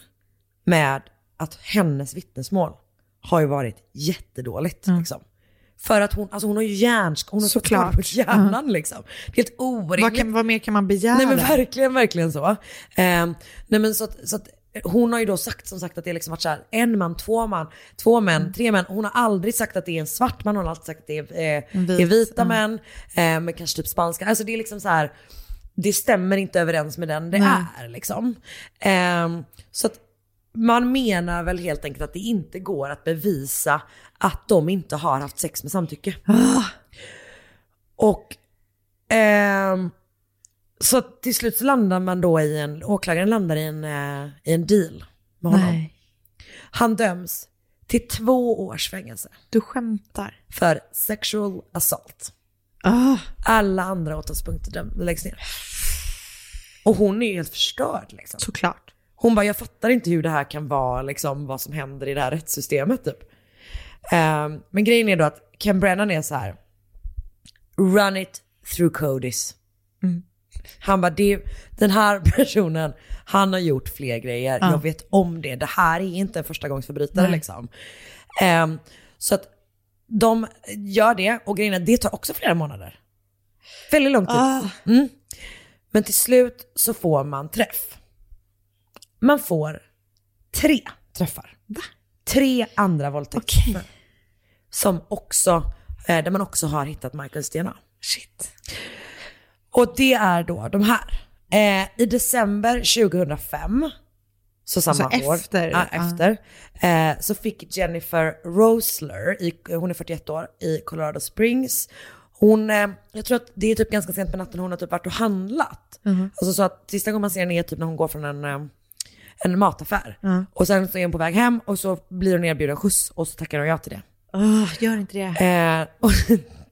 Speaker 2: med att hennes vittnesmål har ju varit jättedåligt.
Speaker 1: Mm.
Speaker 2: Liksom. För att hon, alltså hon har ju hjärnsk, hon har fått
Speaker 1: Såklart.
Speaker 2: skador på hjärnan liksom. Det är helt orimligt.
Speaker 1: Vad, kan, vad mer kan man begära?
Speaker 2: Nej men verkligen, verkligen så. Ehm, nej men så att, så att hon har ju då sagt som sagt att det liksom varit så här, en man, två man, två
Speaker 1: Mm.
Speaker 2: män, tre män. Hon har aldrig sagt att det är en svart man, hon har alltid sagt att det är, eh,
Speaker 1: En vit,
Speaker 2: är vita
Speaker 1: ja.
Speaker 2: män, eh, men kanske typ spanska. Alltså det är liksom så här, det stämmer inte överens med den det
Speaker 1: Nej.
Speaker 2: är liksom. Ehm, så att man menar väl helt enkelt att det inte går att bevisa att de inte har haft sex med samtycke.
Speaker 1: Ah.
Speaker 2: Och ehm, så att till slut så landar man då i en, åklagaren landar i en, eh, i en deal med honom.
Speaker 1: Nej.
Speaker 2: Han döms till två års fängelse
Speaker 1: Du skämtar.
Speaker 2: för sexual assault.
Speaker 1: Ah,
Speaker 2: Alla andra åtalspunkter döm- läggs ner. Och hon är ju helt förstörd liksom.
Speaker 1: såklart.
Speaker 2: Hon bara, jag fattar inte hur det här kan vara, liksom, vad som händer i det här rättssystemet typ. Ehm, men grejen är då att Ken Brennan är så här, run it through Codys. Han bara, det, den här personen, han har gjort fler grejer.
Speaker 1: Ja.
Speaker 2: Jag vet om det. Det här är inte en förstagångsförbrytare
Speaker 1: Nej.
Speaker 2: liksom. Ehm, så att de gör det och grejen är, att det tar också flera månader. Väldigt lång tid.
Speaker 1: Ah.
Speaker 2: Mm. Men till slut så får man träff. Man får tre träffar. Tre andra våldtäkter. Som också, eh, där man också har hittat Michaels DNA.
Speaker 1: Shit.
Speaker 2: Och det är då de här. Eh, I december 2005, så samma
Speaker 1: Alltså
Speaker 2: år,
Speaker 1: efter, Ah.
Speaker 2: ja,
Speaker 1: ja.
Speaker 2: efter eh, så fick Jennifer Rosler, i, hon är 41 år, i Colorado Springs. Hon, eh, jag tror att det är typ ganska sent på natten, hon har typ varit och handlat.
Speaker 1: Mhm.
Speaker 2: Alltså så att sista gången man ser henne är typ när hon går från en, eh, en mataffär.
Speaker 1: Ja.
Speaker 2: Och sen så är hon på väg hem och så blir hon erbjuden skjuts och så tackar hon ja till det.
Speaker 1: Ah, gör inte det.
Speaker 2: Eh, och,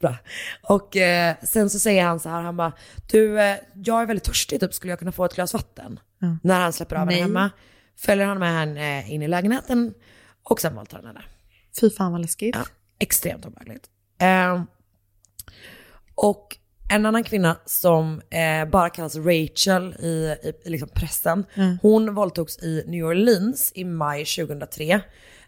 Speaker 2: bra. och eh, sen så säger han så här, han bara, du eh, jag är väldigt törstig typ, skulle jag kunna få ett glas vatten?
Speaker 1: Ja.
Speaker 2: När han släpper av henne
Speaker 1: Nej.
Speaker 2: hemma, följer han med henne eh, in i lägenheten och sen våldtar han henne.
Speaker 1: Fy fan vad läskigt.
Speaker 2: Ja, extremt obehagligt. Eh, och en annan kvinna som eh, bara kallas Rachel i, i, i liksom pressen,
Speaker 1: Mm.
Speaker 2: hon våldtogs i New Orleans i maj 2003.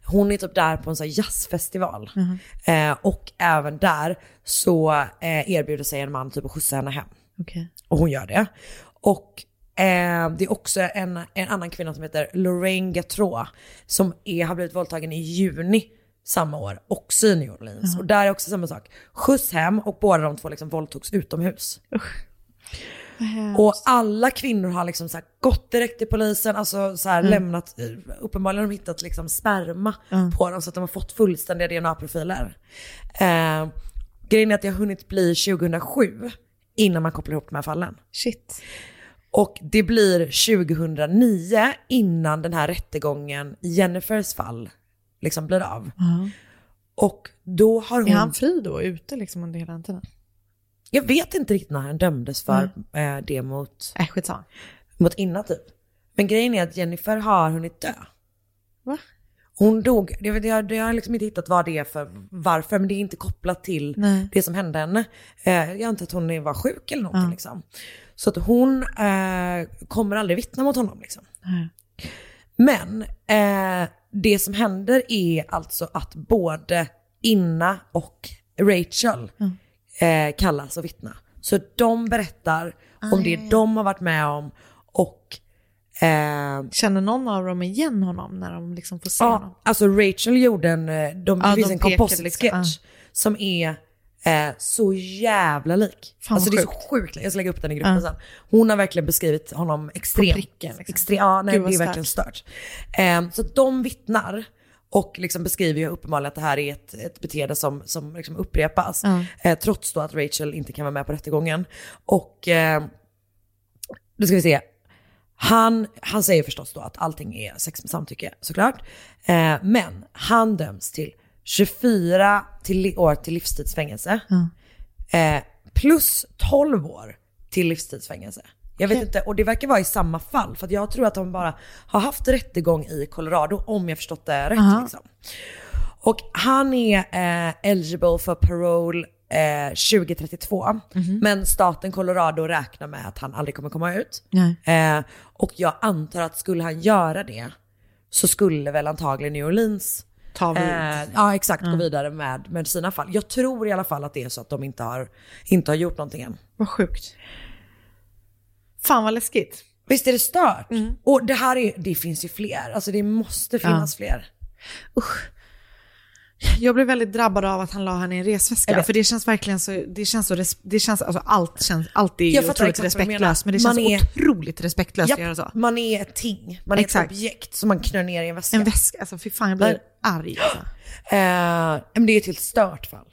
Speaker 2: Hon är typ där på en sån här jazzfestival.
Speaker 1: Mhm.
Speaker 2: Eh, och även där så eh, erbjuder sig en man typ att skjutsa henne hem.
Speaker 1: Okej.
Speaker 2: Och hon gör det. Och eh, det är också en, en annan kvinna som heter Lorraine Gatrå som är, har blivit våldtagen i juni samma år, också i New Orleans.
Speaker 1: Jaha.
Speaker 2: Och där är också samma sak. Skjuts hem och båda de två liksom våldtogs utomhus.
Speaker 1: Vad hemskt.
Speaker 2: Och alla kvinnor har liksom så här gått direkt till polisen, alltså så här lämnat, uppenbarligen har de hittat liksom sperma
Speaker 1: Ja.
Speaker 2: på dem så att de har fått fullständiga DNA-profiler. Eh, grejen är att det har hunnit bli 2007 innan man kopplar ihop de här fallen.
Speaker 1: Shit.
Speaker 2: Och det blir 2009 innan den här rättegången i Jennifers fall liksom blir av.
Speaker 1: Ja.
Speaker 2: Och då har hon...
Speaker 1: Är han fri då? Ute liksom under hela den tiden?
Speaker 2: Jag vet inte riktigt när han dömdes för eh, det mot,
Speaker 1: Äh, skitsamma.
Speaker 2: mot Inna typ. Men grejen är att Jennifer har hunnit dö.
Speaker 1: Va?
Speaker 2: Hon dog, jag, vet, jag, jag har liksom inte hittat vad det är för varför, men det är inte kopplat till
Speaker 1: Nej.
Speaker 2: det som hände henne. Eh, jag antar att hon var sjuk eller någonting
Speaker 1: Ja.
Speaker 2: liksom. Så att hon eh, kommer aldrig vittna mot honom liksom.
Speaker 1: Nej.
Speaker 2: Men eh, det som händer är alltså att både Inna och Rachel eh, kallas och vittna. Så de berättar om det
Speaker 1: Aj.
Speaker 2: de har varit med om och...
Speaker 1: Känner någon av dem igen honom när de liksom får se
Speaker 2: ja,
Speaker 1: honom?
Speaker 2: Alltså Rachel gjorde en, eh, de,
Speaker 1: Ja,
Speaker 2: det finns
Speaker 1: de
Speaker 2: en
Speaker 1: pekar
Speaker 2: composite
Speaker 1: liksom,
Speaker 2: sketch som är eh, så jävla lik.
Speaker 1: Fan,
Speaker 2: alltså
Speaker 1: vad
Speaker 2: det är så sjukt, jag ska lägga upp den i gruppen
Speaker 1: Ja.
Speaker 2: sen. Hon har verkligen beskrivit honom extremt.
Speaker 1: pricken, liksom.
Speaker 2: extre- ja, nej,
Speaker 1: Gud,
Speaker 2: det
Speaker 1: vad
Speaker 2: är verkligen stört. Eh, så att de vittnar och liksom beskriver ju uppenbarligen att det här är ett, ett beteende som, som liksom upprepas.
Speaker 1: Ja.
Speaker 2: Eh, trots då att Rachel inte kan vara med på rättegången. Och eh, då ska vi se. Han, han säger förstås då att allting är sex med samtycke såklart. Eh, men han döms till 24 till, li- år till livstidsfängelse. Eh, plus 12 år till livstidsfängelse. Jag vet inte, och det verkar vara i samma fall. För att jag tror att de bara har haft rättegång i Colorado, om jag förstått det rätt.
Speaker 1: Aha.
Speaker 2: Liksom. Och han är eh, eligible för parole eh, 2032.
Speaker 1: Mhm.
Speaker 2: Men staten Colorado räknar med att han aldrig kommer komma ut.
Speaker 1: Nej.
Speaker 2: Eh, och jag antar att skulle han göra det så skulle väl antagligen New Orleans
Speaker 1: Ta vid.
Speaker 2: Eh, ja exakt, gå
Speaker 1: Mm.
Speaker 2: vidare med, med sina fall. Jag tror i alla fall att det är så att de inte har, inte har gjort någonting än.
Speaker 1: Vad sjukt. Fan vad läskigt. Mm.
Speaker 2: Visst är det stört? Och det här är, det finns ju fler. Alltså det måste finnas fler.
Speaker 1: Jag blev väldigt drabbad av att han la henne i en
Speaker 2: Jag
Speaker 1: resväska.
Speaker 2: vet.
Speaker 1: För det känns verkligen så, det känns så, res- det känns, alltså allt känns, allt är
Speaker 2: Jag
Speaker 1: ju
Speaker 2: fattar
Speaker 1: otroligt
Speaker 2: exakt vad du menar.
Speaker 1: respektlöst. Men det
Speaker 2: Man
Speaker 1: känns
Speaker 2: är-
Speaker 1: otroligt respektlöst
Speaker 2: Japp,
Speaker 1: att göra så.
Speaker 2: Man är ett ting, man är
Speaker 1: Exakt.
Speaker 2: ett objekt som man knör ner i en väska.
Speaker 1: En väska, alltså fy fan jag blir
Speaker 2: Nej.
Speaker 1: arg. Alltså.
Speaker 2: Eh, men det är ett helt stört fall.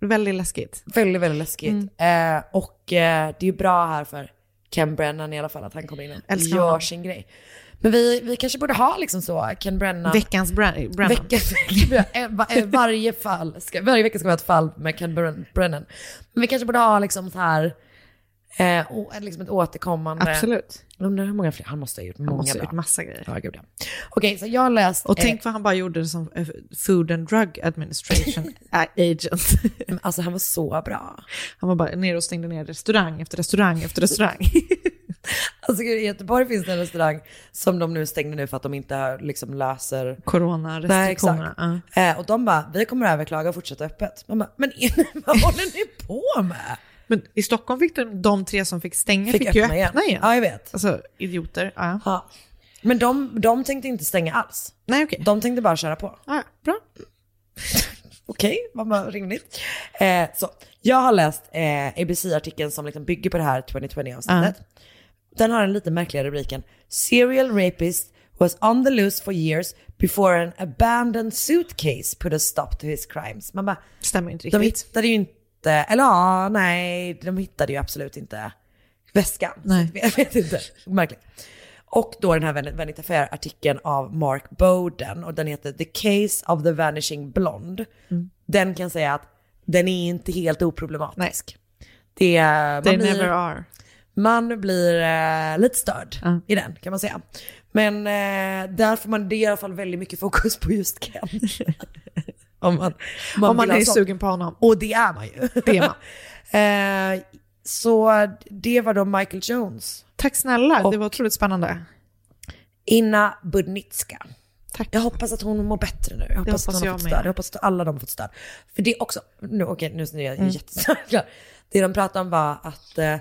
Speaker 1: Väldigt läskigt.
Speaker 2: Väldigt, väldigt läskigt.
Speaker 1: Mm.
Speaker 2: Eh, och eh, det är ju bra här för Ken Brennan i alla fall att han kommer in och
Speaker 1: Älskar
Speaker 2: gör
Speaker 1: honom.
Speaker 2: sin grej. Men vi, vi kanske borde ha liksom så, Ken Brennan.
Speaker 1: Veckans Bran- Brennan.
Speaker 2: Veckans, eh, va- eh, varje, fall ska, varje vecka ska vi ha ett fall med Ken Bren- Brennan. Men vi kanske borde ha liksom så här, eh, å- liksom ett återkommande.
Speaker 1: Absolut.
Speaker 2: Jag Undrar hur många fler, han måste ha gjort många
Speaker 1: Han måste ha
Speaker 2: bra.
Speaker 1: gjort massa grejer.
Speaker 2: Ja, gud ja. Okej, så jag har läst...
Speaker 1: Och
Speaker 2: eh,
Speaker 1: tänk vad han bara gjorde som eh, Food and Drug Administration agent.
Speaker 2: Alltså han var så bra.
Speaker 1: Han var bara nere och stängde ner restaurang efter restaurang efter restaurang.
Speaker 2: Alltså, I Göteborg finns det en restaurang som de nu stängde nu för att de inte har, liksom, löser
Speaker 1: Coronarestriktionerna. ja.
Speaker 2: Eh, och de bara, vi kommer att överklaga och fortsätta öppet. Man bara, men är ni- vad håller ni på med?
Speaker 1: Men i Stockholm fick de, de tre som fick stänga
Speaker 2: Fick
Speaker 1: fick, ju
Speaker 2: öppna
Speaker 1: öppna
Speaker 2: igen.
Speaker 1: igen.
Speaker 2: Ja, jag vet.
Speaker 1: Alltså idioter. Ja.
Speaker 2: Ja. Men de, de tänkte inte stänga alls.
Speaker 1: Nej okej.
Speaker 2: De tänkte bara köra på.
Speaker 1: Ja, bra.
Speaker 2: Okej, vad vad rimligt. Eh, så, jag har läst eh, ABC-artikeln som liksom bygger på det här 2020-avsnittet. Den har den lite märkliga rubriken “Serial rapist was on the loose for years before an abandoned suitcase put a stop to his crimes”. Man bara,
Speaker 1: Stämmer inte
Speaker 2: de
Speaker 1: riktigt.
Speaker 2: hittade ju inte, eller ja, nej, de hittade ju absolut inte väskan. Så
Speaker 1: Nej.
Speaker 2: Jag vet inte, märkligt. Och då den här Van- Vanity Fair-artikeln av Mark Bowden och den heter The Case of the Vanishing Blonde.
Speaker 1: Mm.
Speaker 2: Den kan jag säga att den är inte helt oproblematisk. Det, är- man,
Speaker 1: They
Speaker 2: blir,
Speaker 1: never are.
Speaker 2: man blir eh, lite störd
Speaker 1: Ja.
Speaker 2: i den kan man säga. Men eh, där får man, det är i alla fall väldigt mycket fokus på just Ken. om man,
Speaker 1: Om man
Speaker 2: vill ha
Speaker 1: är
Speaker 2: sånt.
Speaker 1: sugen på honom.
Speaker 2: Och det är man ju.
Speaker 1: Det är man.
Speaker 2: Eh, så det var då Michael Jones.
Speaker 1: Tack snälla,
Speaker 2: Och-
Speaker 1: det var otroligt spännande.
Speaker 2: Inna Budnitska.
Speaker 1: Tack.
Speaker 2: Jag hoppas att hon mår bättre nu. Jag hoppas,
Speaker 1: hoppas
Speaker 2: att hon
Speaker 1: jag
Speaker 2: har fått
Speaker 1: med.
Speaker 2: stöd. Jag hoppas att alla de har fått stöd. För det är också, nu, okej nu är jag jättestark. Det de pratade om var att eh,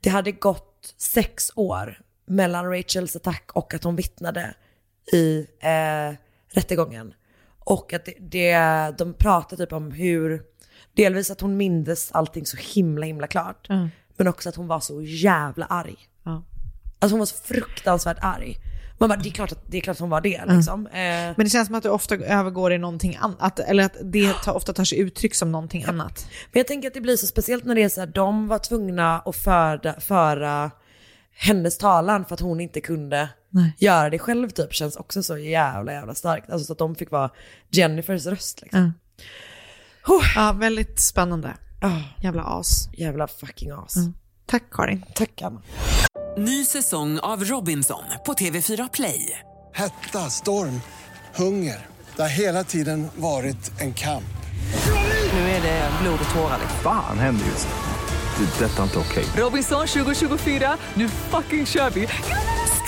Speaker 2: det hade gått sex år mellan Rachels attack och att hon vittnade i eh, rättegången. Och att det, det, de pratade typ om hur, delvis att hon mindes allting så himla himla klart.
Speaker 1: Mm.
Speaker 2: Men också att hon var så jävla arg.
Speaker 1: Ja.
Speaker 2: Alltså hon var så fruktansvärt arg. Man bara, det är klart att, det är klart att hon var det
Speaker 1: Mm.
Speaker 2: liksom. Eh,
Speaker 1: Men det känns som att du ofta övergår i någonting annat, eller att det tar, ofta tar sig uttryck som någonting annat.
Speaker 2: Men jag tänker att det blir så speciellt när det är så här, de var tvungna att föra, föra hennes talan för att hon inte kunde
Speaker 1: Nej.
Speaker 2: göra det själv typ. Känns också så jävla jävla starkt. Alltså så att de fick vara Jennifers röst liksom.
Speaker 1: Ja.
Speaker 2: Huh.
Speaker 1: Ja, väldigt spännande.
Speaker 2: Ah,
Speaker 1: Jävla as.
Speaker 2: jävla fucking as.
Speaker 1: Tack Karin.
Speaker 2: Tack Anna.
Speaker 3: Ny säsong av Robinson på TV4 Play.
Speaker 8: Hetta, storm, hunger. Det har hela tiden varit en kamp.
Speaker 3: Nu är det blod och tårar.
Speaker 9: Fan händer just det. Det är detta inte okej.
Speaker 3: Robinson 2024, nu fucking kör vi!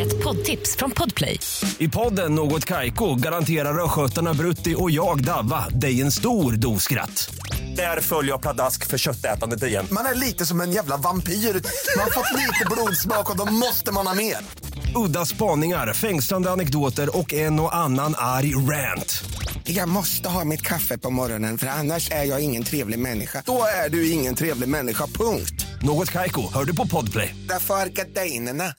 Speaker 4: Ett poddtips från Podplay.
Speaker 10: I podden Något Kaiko garanterar östgötarna Brutti och jag, Davva, dig en stor dos skratt. Där följer jag pladask för köttätandet igen.
Speaker 11: Man är lite som en jävla vampyr. Man har fått lite blodsmak och då måste man ha mer.
Speaker 10: Udda spaningar, fängslande anekdoter och en och annan arg rant.
Speaker 11: Jag måste ha mitt kaffe på morgonen för annars är jag ingen trevlig människa. Då är du ingen trevlig människa, punkt.
Speaker 10: Något Kaiko, hör du på podplay.
Speaker 11: Därför är gardinerna.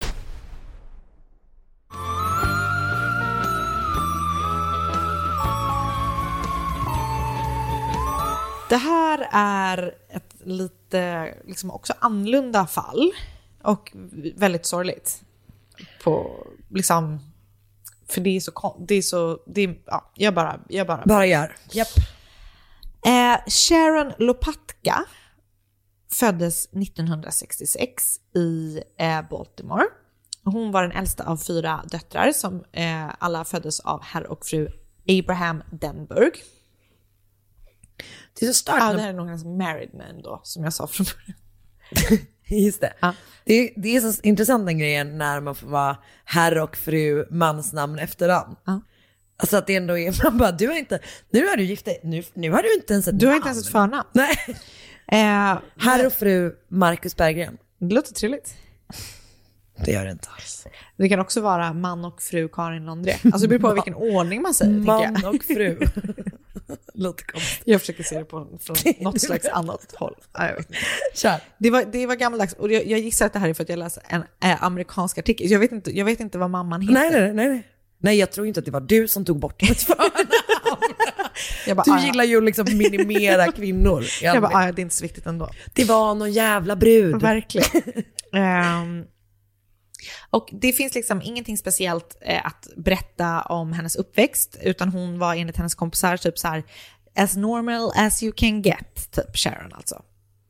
Speaker 1: Det här är ett lite liksom också annorlunda fall och väldigt sorgligt. På, liksom, för det är så... kon- Det är så det är, ja, jag bara... Jag bara,
Speaker 2: Bara gör.
Speaker 1: Eh, Sharon Lopatka föddes 1966 i eh, Baltimore. Hon var den äldsta av fyra döttrar som eh, alla föddes av herr och fru Abraham Denburg.
Speaker 2: Det är så starkt.
Speaker 1: Ja, det här är nog hans married man då, som jag sa från början.
Speaker 2: Just det. Det, är, det är så intressant den grejen när man får vara herr och fru, mansnamn efternamn. Alltså att det ändå är, man bara, du har inte, nu har du gift dig, nu, nu har du inte ens ett
Speaker 1: Du har inte ens ett förnamn.
Speaker 2: Alltså, Nej.
Speaker 1: herr
Speaker 2: och fru Marcus Berggren.
Speaker 1: Det låter trevligt.
Speaker 2: Det gör det inte alls.
Speaker 1: Det kan också vara man och fru Karin Londré. Alltså det beror på vilken ordning man säger.
Speaker 2: Man
Speaker 1: tänker jag.
Speaker 2: och fru. Låter konstigt.
Speaker 1: Jag försöker se det på, från något slags annat håll. Ja, jag vet inte. Det, var, det var gammaldags. Och jag, jag gissar att det här är för att jag läste en eh, amerikansk artikel. Jag vet, inte, jag vet inte vad mamman heter.
Speaker 2: Nej, nej, nej, nej. Nej, jag tror inte att det var du som tog bort mitt förnamn.
Speaker 1: Jag bara,
Speaker 2: Du
Speaker 1: ah, ja.
Speaker 2: gillar ju att liksom minimera kvinnor. i
Speaker 1: Jag bara,
Speaker 2: allmänhet.
Speaker 1: ah, ja, det är inte så viktigt ändå.
Speaker 2: Det var någon jävla
Speaker 1: Mm.
Speaker 2: brud.
Speaker 1: Verkligen. Ehm, och det finns liksom ingenting speciellt eh, att berätta om hennes uppväxt, utan hon var enligt hennes kompisar typ så här, as normal as you can get, typ Sharon alltså.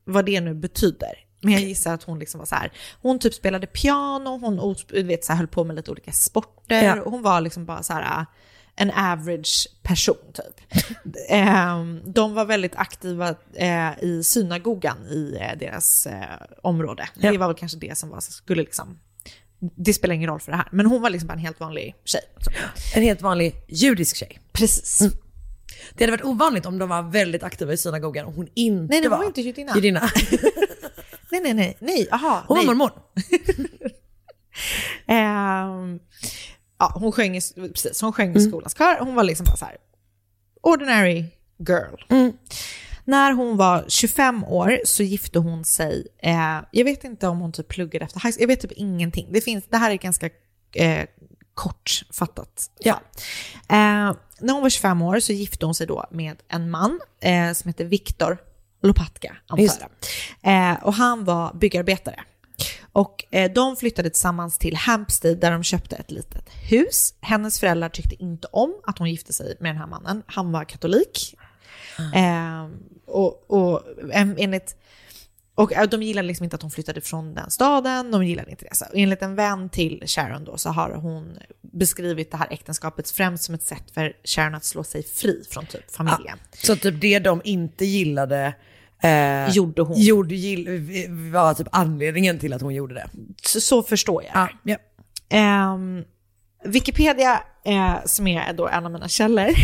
Speaker 1: Vad det nu betyder. Men jag gissar att hon liksom var så här, hon typ spelade piano, hon os- du vet, så här, höll på med lite olika sporter,
Speaker 2: Ja.
Speaker 1: och hon var liksom bara så här, en average person typ. Ehm, de var väldigt aktiva eh, i synagogan i eh, deras eh, område. Det var väl kanske det som var, så skulle liksom, det spelar ingen roll för det här. Men hon var liksom bara en helt vanlig tjej. Så.
Speaker 2: En helt vanlig judisk tjej. Mm.
Speaker 1: Precis.
Speaker 2: Det hade varit ovanligt om de var väldigt aktiva i synagogan och hon inte
Speaker 1: Nej, nej,
Speaker 2: var.
Speaker 1: hon var inte judinna.
Speaker 2: Judinna.
Speaker 1: Nej, nej, nej, nej, aha.
Speaker 2: Hon var
Speaker 1: nej.
Speaker 2: mormon.
Speaker 1: Ehm, ja, hon sjöng i, precis, hon sjöng i skolans kör. Hon var liksom bara så här, ordinary girl. När hon var 25 år så gifte hon sig, eh, jag vet inte om hon typ pluggade efter high school, jag vet typ ingenting. Det, finns, det här är ganska eh, kortfattat. Ja. Eh, när hon var 25 år så gifte hon sig då med en man eh, som heter Viktor Lopatka, antar
Speaker 2: Just
Speaker 1: jag. Eh, och han var byggarbetare. Och eh, de flyttade tillsammans till Hampstead där de köpte ett litet hus. Hennes föräldrar tyckte inte om att hon gifte sig med den här mannen. Han var katolik. Eh, och, och en- enligt och eh, de gillade liksom inte att hon flyttade från den staden, de gillade inte det. Så enligt en vän till Sharon då så har hon beskrivit det här äktenskapet främst som ett sätt för Sharon att slå sig fri från typ familjen.
Speaker 2: Så typ det de inte gillade eh,
Speaker 1: Gjorde hon.
Speaker 2: Gjorde, gill, var typ anledningen till att hon gjorde det.
Speaker 1: Så, så förstår jag det.
Speaker 2: Ja.
Speaker 1: Ehm, Wikipedia, eh, som är då en av mina källor.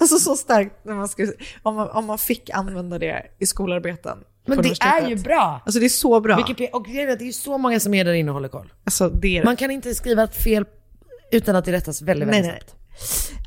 Speaker 1: alltså så starkt när man skulle, om, man, om man fick använda det i skolarbeten.
Speaker 2: Men
Speaker 1: på
Speaker 2: det är ju
Speaker 1: universitetet.
Speaker 2: bra.
Speaker 1: Alltså det är så bra.
Speaker 2: Wikipedia, och grejen är att det är ju så många som är där inne och håller koll.
Speaker 1: Alltså det är
Speaker 2: Man kan inte skriva ett fel utan att det rättas väldigt,
Speaker 1: Nej,
Speaker 2: väldigt
Speaker 1: nej.
Speaker 2: snabbt.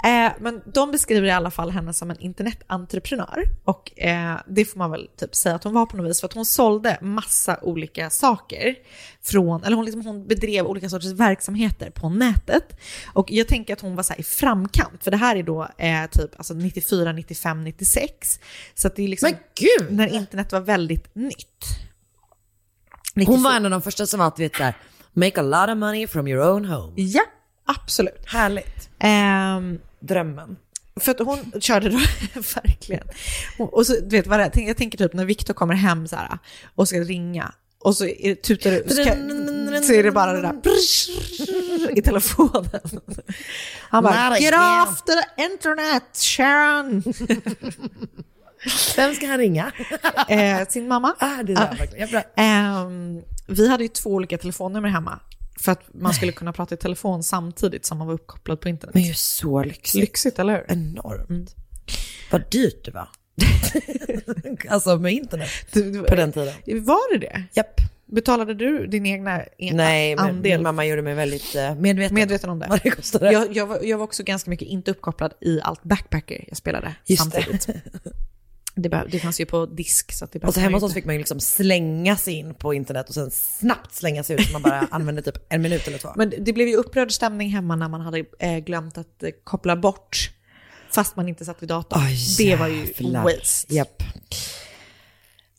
Speaker 1: Eh, men de beskriver i alla fall henne som en internetentreprenör. Och eh, det får man väl typ säga att hon var på något vis. För att hon sålde massa olika saker. Från, eller hon, liksom, hon bedrev olika sorters verksamheter på nätet. Och jag tänker att hon var så här i framkant. För det här är då eh, typ alltså 94, 95, 96. Så att det är liksom
Speaker 2: Men gud!
Speaker 1: när internet var väldigt nytt.
Speaker 2: Hon var en av de första som var att, du vet såhär, make a lot of money from your own home.
Speaker 1: Ja, absolut.
Speaker 2: Härligt.
Speaker 1: Ehm,
Speaker 2: Drömmen.
Speaker 1: För att hon körde då, verkligen. Och, och så, du vet vad det är, Tänk- jag tänker typ när Viktor kommer hem så här, och ska ringa och så är, det- tutar det, så, kan, så är det bara det där i telefonen. Han bara “Get off the internet Sharon!”
Speaker 2: Vem ska han ringa?
Speaker 1: eh, sin mamma.
Speaker 2: Ah, det är
Speaker 1: Ja.
Speaker 2: där, verkligen. Ja, bra.
Speaker 1: Ehm, vi hade ju två olika telefonnummer hemma för att man skulle kunna prata i telefon samtidigt som man var uppkopplad på internet.
Speaker 2: Men det är ju så lyxigt.
Speaker 1: Lyxigt, eller hur? Mm.
Speaker 2: Enormt. Vad dyrt det var. alltså med internet på den tiden.
Speaker 1: Var det det?
Speaker 2: Japp.
Speaker 1: Betalade du din egna e-
Speaker 2: Nej, men
Speaker 1: andel?
Speaker 2: min mamma gjorde mig väldigt eh, medveten.
Speaker 1: Medveten om det.
Speaker 2: Vad det kostade.
Speaker 1: Jag, jag, var, jag var också ganska mycket inte uppkopplad i allt backpacker jag spelade
Speaker 2: Just det.
Speaker 1: samtidigt. Det. behöv- det fanns ju på disk. Så att det
Speaker 2: Och så
Speaker 1: behövde
Speaker 2: hemma
Speaker 1: man
Speaker 2: hos
Speaker 1: ju
Speaker 2: oss
Speaker 1: inte.
Speaker 2: fick man ju liksom slänga sig in på internet och sen snabbt slänga sig ut så man bara använde typ en minut eller två.
Speaker 1: Men det blev ju upprörd stämning hemma när man hade eh, glömt att eh, koppla bort fast man inte satt vid datorn. det var ju waste.
Speaker 2: Japp.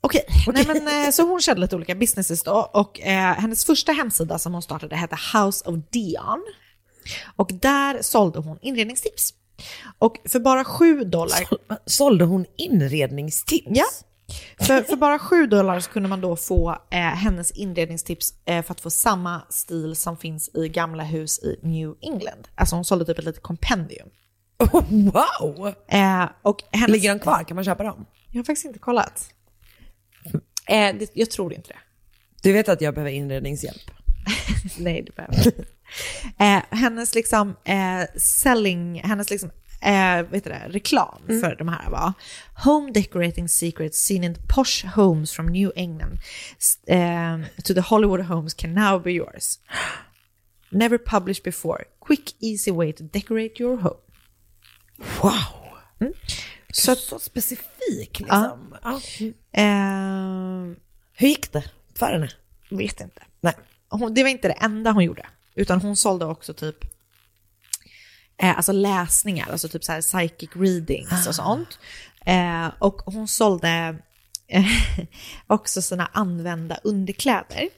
Speaker 1: Okej, Nej, men, eh, så hon körde lite olika businesses då och eh, hennes första hemsida som hon startade hette House of Dion. Och där sålde hon inredningstips. Och för bara 7 dollar...
Speaker 2: Sålde hon inredningstips?
Speaker 1: Ja. För, för bara 7 dollar så kunde man då få eh, hennes inredningstips eh, för att få samma stil som finns i gamla hus i New England. Alltså hon sålde typ ett litet kompendium.
Speaker 2: Oh, Wow!
Speaker 1: Eh, och hennes...
Speaker 2: Ligger de kvar? Kan man köpa dem?
Speaker 1: Jag har faktiskt inte kollat. Eh, det, jag tror inte det.
Speaker 2: Du vet att jag behöver inredningshjälp.
Speaker 1: Nej, det behöver jag inte. eh, Hennes liksom eh, selling, hennes liksom Eh, vet du det, reklam
Speaker 2: Mm.
Speaker 1: för de här var Home decorating secrets seen in posh homes from New England S- eh, to the Hollywood homes can now be yours. Never published before. Quick easy way to decorate your home. Mm.
Speaker 2: Wow!
Speaker 1: Så, att-
Speaker 2: Så specifik liksom. Ja.
Speaker 1: eh,
Speaker 2: Hur gick det för henne?
Speaker 1: vet inte.
Speaker 2: Nej.
Speaker 1: hon, det var inte det enda hon gjorde, utan hon sålde också typ eh, alltså läsningar, alltså typ så här psychic
Speaker 2: Ah.
Speaker 1: readings och sånt. Eh, och hon sålde eh, också sina använda underkläder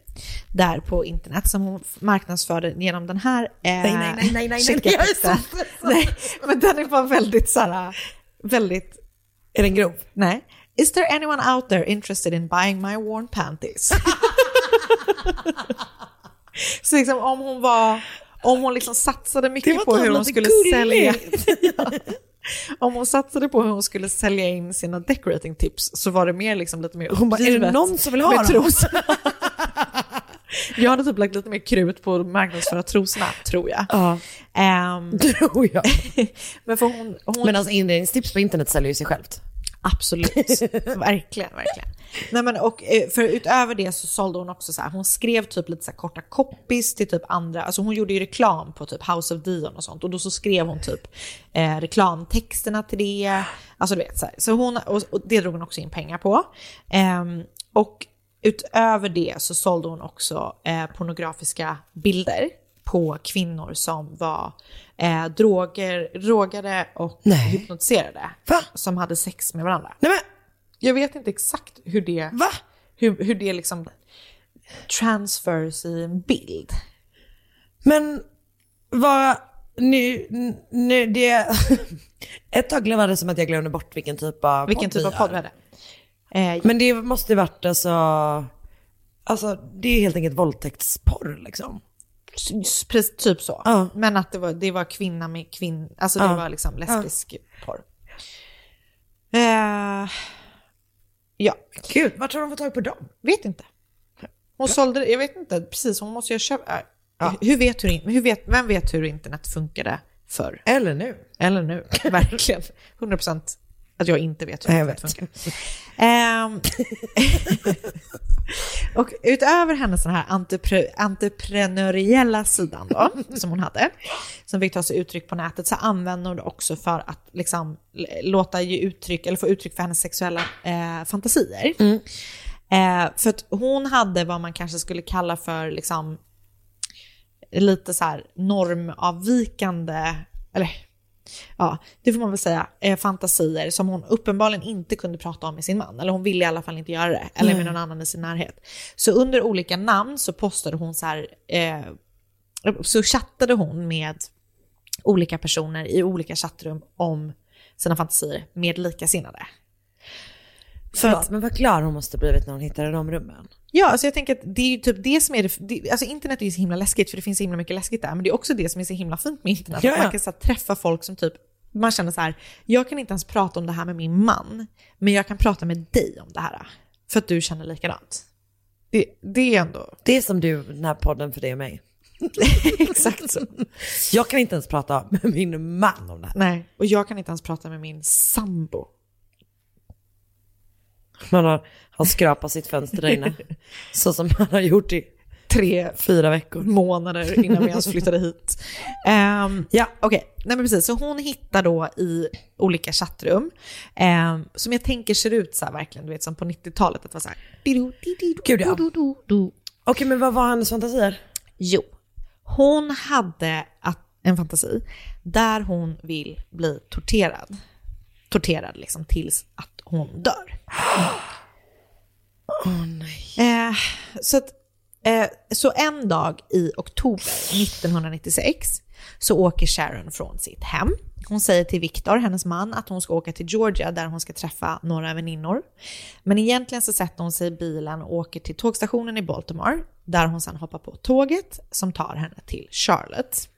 Speaker 1: där på internet som hon marknadsförde genom den här... Eh,
Speaker 2: Nej, nej, nej, nej, nej, nej,
Speaker 1: checka
Speaker 2: jag är så
Speaker 1: texten. Nej, men den är bara väldigt så här, väldigt...
Speaker 2: Är den grov?
Speaker 1: Nej. Is there anyone out there interested in buying my worn panties? Så liksom om hon var, om hon liksom satsade mycket på hur hon skulle sälja, om hon satsade på hur hon skulle sälja in sina decorating tips så var det mer liksom lite mer
Speaker 2: Hon bara, är det
Speaker 1: uppgivet
Speaker 2: någon som vill ha
Speaker 1: med
Speaker 2: dem?
Speaker 1: trosorna. Jag hade typ lagt lite mer krut på att marknadsföra trosorna, tror jag.
Speaker 2: Ja.
Speaker 1: Ehm,
Speaker 2: Tror jag.
Speaker 1: men för hon, hon
Speaker 2: Men alltså inredningstips på internet säljer ju sig självt.
Speaker 1: Absolut. verkligen, verkligen. Nej, men, och, eh, för utöver det så sålde hon också så här, hon skrev typ lite så här korta copies till typ andra, alltså hon gjorde ju reklam på typ House of Dion och sånt och då så skrev hon typ eh, reklamtexterna till det. Alltså du vet så här. Så hon, och, och det drog hon också in pengar på. Ehm, och utöver det så sålde hon också eh, pornografiska bilder på kvinnor som var eh, droger, drogade och hypnotiserade.
Speaker 2: Va?
Speaker 1: Som hade sex med varandra.
Speaker 2: Nej men,
Speaker 1: Jag vet inte exakt hur det,
Speaker 2: va?
Speaker 1: hur, hur det liksom transfers i en bild.
Speaker 2: Men vad, nu, nu det... Ett tag var det som att jag glömde bort vilken typ av
Speaker 1: Vilken typ
Speaker 2: vi
Speaker 1: av
Speaker 2: har.
Speaker 1: podd vi hade. Eh,
Speaker 2: Men det måste ju varit alltså... Alltså det är helt enkelt våldtäktsporr liksom.
Speaker 1: s- precis, typ så.
Speaker 2: Ja.
Speaker 1: Men att det var, det var kvinna med kvinna, alltså det
Speaker 2: Ja.
Speaker 1: var liksom lesbisk porr. Eh, ja,
Speaker 2: Gud, vart har de fått tag på dem?
Speaker 1: vet inte. Hon sålde, jag vet inte, precis hon måste ju köpa. äh, Hur vet hur, in- hur vet, vem vet hur internet funkade förr?
Speaker 2: Eller nu.
Speaker 1: Eller nu, verkligen. 100% att jag inte vet hur
Speaker 2: Nej, jag
Speaker 1: internet
Speaker 2: vet.
Speaker 1: funkar. Ehm, och utöver hennes den här entrepre- entreprenöriella sidan då, som hon hade, som fick ta sig uttryck på nätet, så använde hon det också för att liksom l- låta ge uttryck, eller få uttryck för hennes sexuella eh, fantasier. Eh, för att hon hade vad man kanske skulle kalla för liksom, lite så här normavvikande, eller ja, det får man väl säga, eh, fantasier som hon uppenbarligen inte kunde prata om med sin man. Eller hon ville i alla fall inte göra det, eller med någon annan i sin närhet. Så under olika namn så postade hon så här, eh, så chattade hon med olika personer i olika chattrum om sina fantasier med likasinnade. För att,
Speaker 2: Förlåt, men vad glad hon måste blivit när hon hittade de rummen.
Speaker 1: ja, alltså jag tänker att det är ju typ det som är det, det alltså internet är ju så himla läskigt för det finns så himla mycket läskigt där, men det är också det som är så himla fint med internet,
Speaker 2: Ja,
Speaker 1: att man
Speaker 2: ja.
Speaker 1: kan så här, träffa folk som typ man känner så här, jag kan inte ens prata om det här med min man, men jag kan prata med dig om det här. För att du känner likadant. Det, det är ändå...
Speaker 2: Det är som du, den här podden för dig och mig.
Speaker 1: Exakt så.
Speaker 2: Jag kan inte ens prata med min man om det här.
Speaker 1: Nej, och jag kan inte ens prata med min sambo.
Speaker 2: Man har, har skrapat sitt fönster där inne. så som man har gjort i
Speaker 1: tre,
Speaker 2: fyra veckor.
Speaker 1: Månader innan vi ens flyttade hit. Ehm, ja, okej. Nej men precis, så hon hittar då i olika chattrum, ehm, som jag tänker ser ut så här verkligen, du vet som på 90-talet, att det var så här.
Speaker 2: Gud ja. Okej, men vad var hans fantasier?
Speaker 1: Jo, hon hade att, en fantasi där hon vill bli torterad. Torterad liksom tills att hon dör.
Speaker 2: Åh nej.
Speaker 1: Eh, så, att, eh, så en dag i oktober 1996 så åker Sharon från sitt hem. Hon säger till Victor, hennes man, att hon ska åka till Georgia där hon ska träffa några väninnor. Men egentligen så sätter hon sig i bilen och åker till tågstationen i Baltimore där hon sen hoppar på tåget som tar henne till Charlotte.